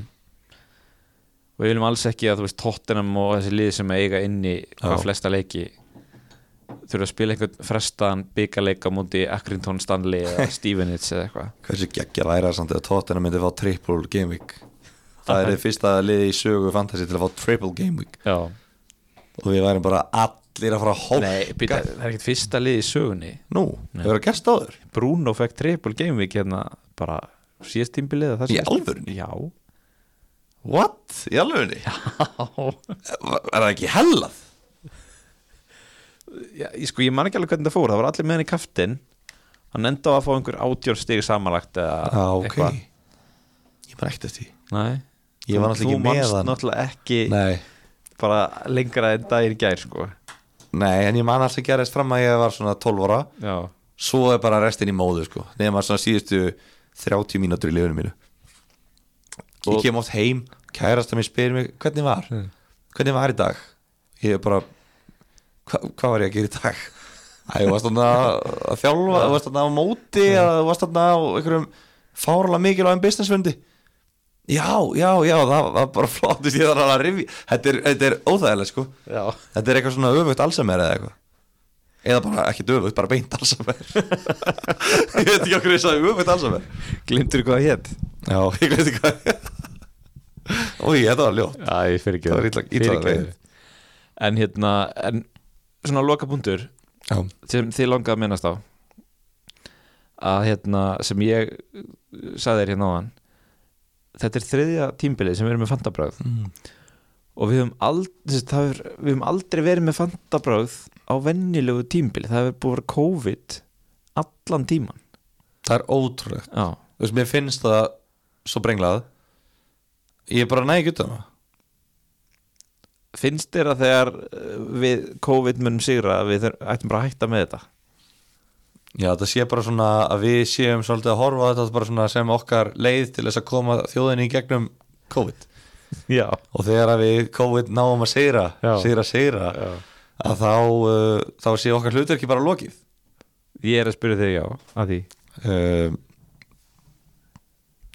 A: og við viljum alls ekki að þú veist Tottenham og þessi lið sem eiga inni hvað flesta leiki þurfa að spila einhvern frestaðan byggarleika múti Accrington Stanley eða Stevenage eða eitthvað
B: hversu geggja væri það samt að Tottenham myndi fá triple game week það er þið fyrsta liði í sögu fantasy til að fá triple game week
A: Já.
B: og við værim bara allir að fara að hólka
A: Nei, býta, Eh, það er ekkert fyrsta lið í sögunni
B: nú, það verður að gerst áður
A: Bruno fekk triple game week hérna bara síðast tímbilið eða það
B: Í
A: síðasta.
B: alvörunni?
A: Já,
B: what, í alveg er það ekki hellað
A: Já ég, sko, ég man ekki alveg hvernig það fór það var allir með henni kaftin hann enda á að fá einhver átjón stig samanlagt eða eitthvað.
B: ég bara ekkert eftir því.
A: Nei.
B: Ég var náttúrulega
A: Þú-
B: ekki með
A: Þú
B: hann.
A: manst náttúrulega ekki
B: nei,
A: bara lengra en daginn í gær sko
B: nei, en ég man alltaf gerist fram að ég var svona 12 ára
A: Já,
B: svo er bara restin í móðu sko nema svona síðustu 30 mínútur í liðunum mínu ég kem oft heim, kærasta mér spyr mig hvernig var, hvernig var í dag ég er bara hva, hvað var ég að gera í dag Æ, þú varst þarna að þjálfa þú varst þarna á móti, eða þú varst þarna á einhverjum fárlega mikilvægum businessfundi já, já, já það var bara flottist, ég þarf að rifja þetta er, þetta er óþægilega sko
A: já.
B: þetta er eitthvað svona öfugt alzheimer eða eitthvað eða bara ekki öfugt, bara beint alzheimer ég veit ekki okkur þess að öfugt alzheimer
A: Glimtur hvað það hétt?
B: já, ég veit ekki hvað Úi, þetta var ljótt
A: Æ, fyrir ekki
B: Það var illa- illa vegið.
A: En hérna, en svona lokapunktur
B: Já.
A: sem þið langaði að minnast á að hérna, sem ég sagði þér hérna á hann þetta er þriðja tímbilið sem við erum með fantabráð mm. og við höfum, aldrei, er, við höfum aldrei verið með fantabráð á vennilegu tímbilið það hefur búið að vera COVID allan tíman
B: það er ótrúlegt,
A: Já,
B: þú veist, mér finnst það svo brenglað ég er bara næg utan það
A: finnst þér að þegar uh, við COVID munum sigra að við þur- ættum bara að hætta með þetta
B: já, það sé bara svona að við séum svolítið að horfa á þetta bara svona sem okkar leið til þess að koma þjóðinni í gegnum COVID
A: Já,
B: og þegar að við COVID náum að sigra
A: Já.
B: sigra, sigra að þá, uh, þá sé okkar hlutverki bara lokið
A: ég er að spyrja þig já að því
B: um,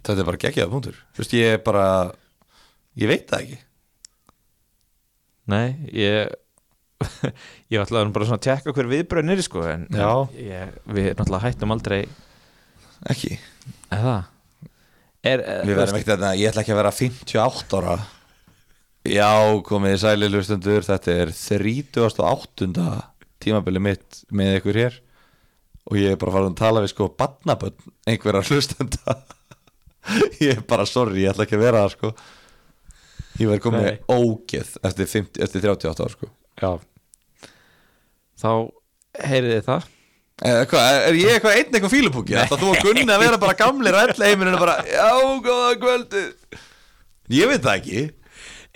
B: þetta er bara geggjaða punktur þú veist ég er bara ég veit það ekki
A: Nei, ég ég ætlaði nú bara svona að tekka hver viðbröðin er sko, en en
B: Já.
A: ég, við náttúrulega hættum aldrei
B: ekki
A: eða er, eh, er,
B: við verðum ekkert þarna ég ætla ekki að vera 58 ára já komið í sæli hlustendur þetta er 38. tímabili mitt með ykkur hér og ég er bara farin að tala við sko badnabönd einhverja hlustenda ég er bara sorry ég ætla ekki að vera það sko ég verð komið
A: Nei.
B: ógeð eftir, 50, eftir 38 ára sko
A: Já Þá heyrið þið það
B: Eh, Hva, er ég eitthvað einn eitthvað fílupúki? Það þú að gunni að vera bara gamli rættleiminu og bara, já, góða kvöldi Ég veit það ekki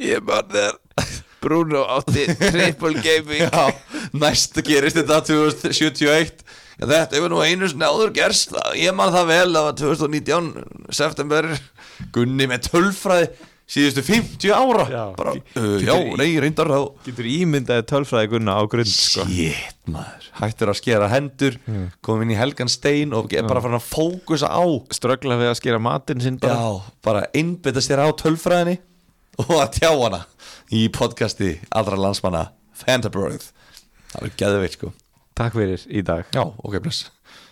B: Ég man þér
A: Bruno átti triple gaming
B: Já, næst gerist þetta 2071 Já, þetta hefur nú einu sinni áður gerst það- Ég man það vel, það var 2019 september, Gunni með tölfræði síðustu 50 ára
A: Já.
B: bara, uh, já nei, reyndar þá
A: Getur ímyndaði tölfræði gunna á grund sko.
B: Shit, maður, hættur að skera hendur komum inn í helgan stein og er bara farin að fókusa á
A: Ströggla við að skera matinn sinn bara
B: Já, bara einbytta sér á tölfræðinni og að tjá hana í podcasti allra landsmanna Fantabröð Það er geðveikt sko
A: Takk fyrir í dag
B: Já, ok, bless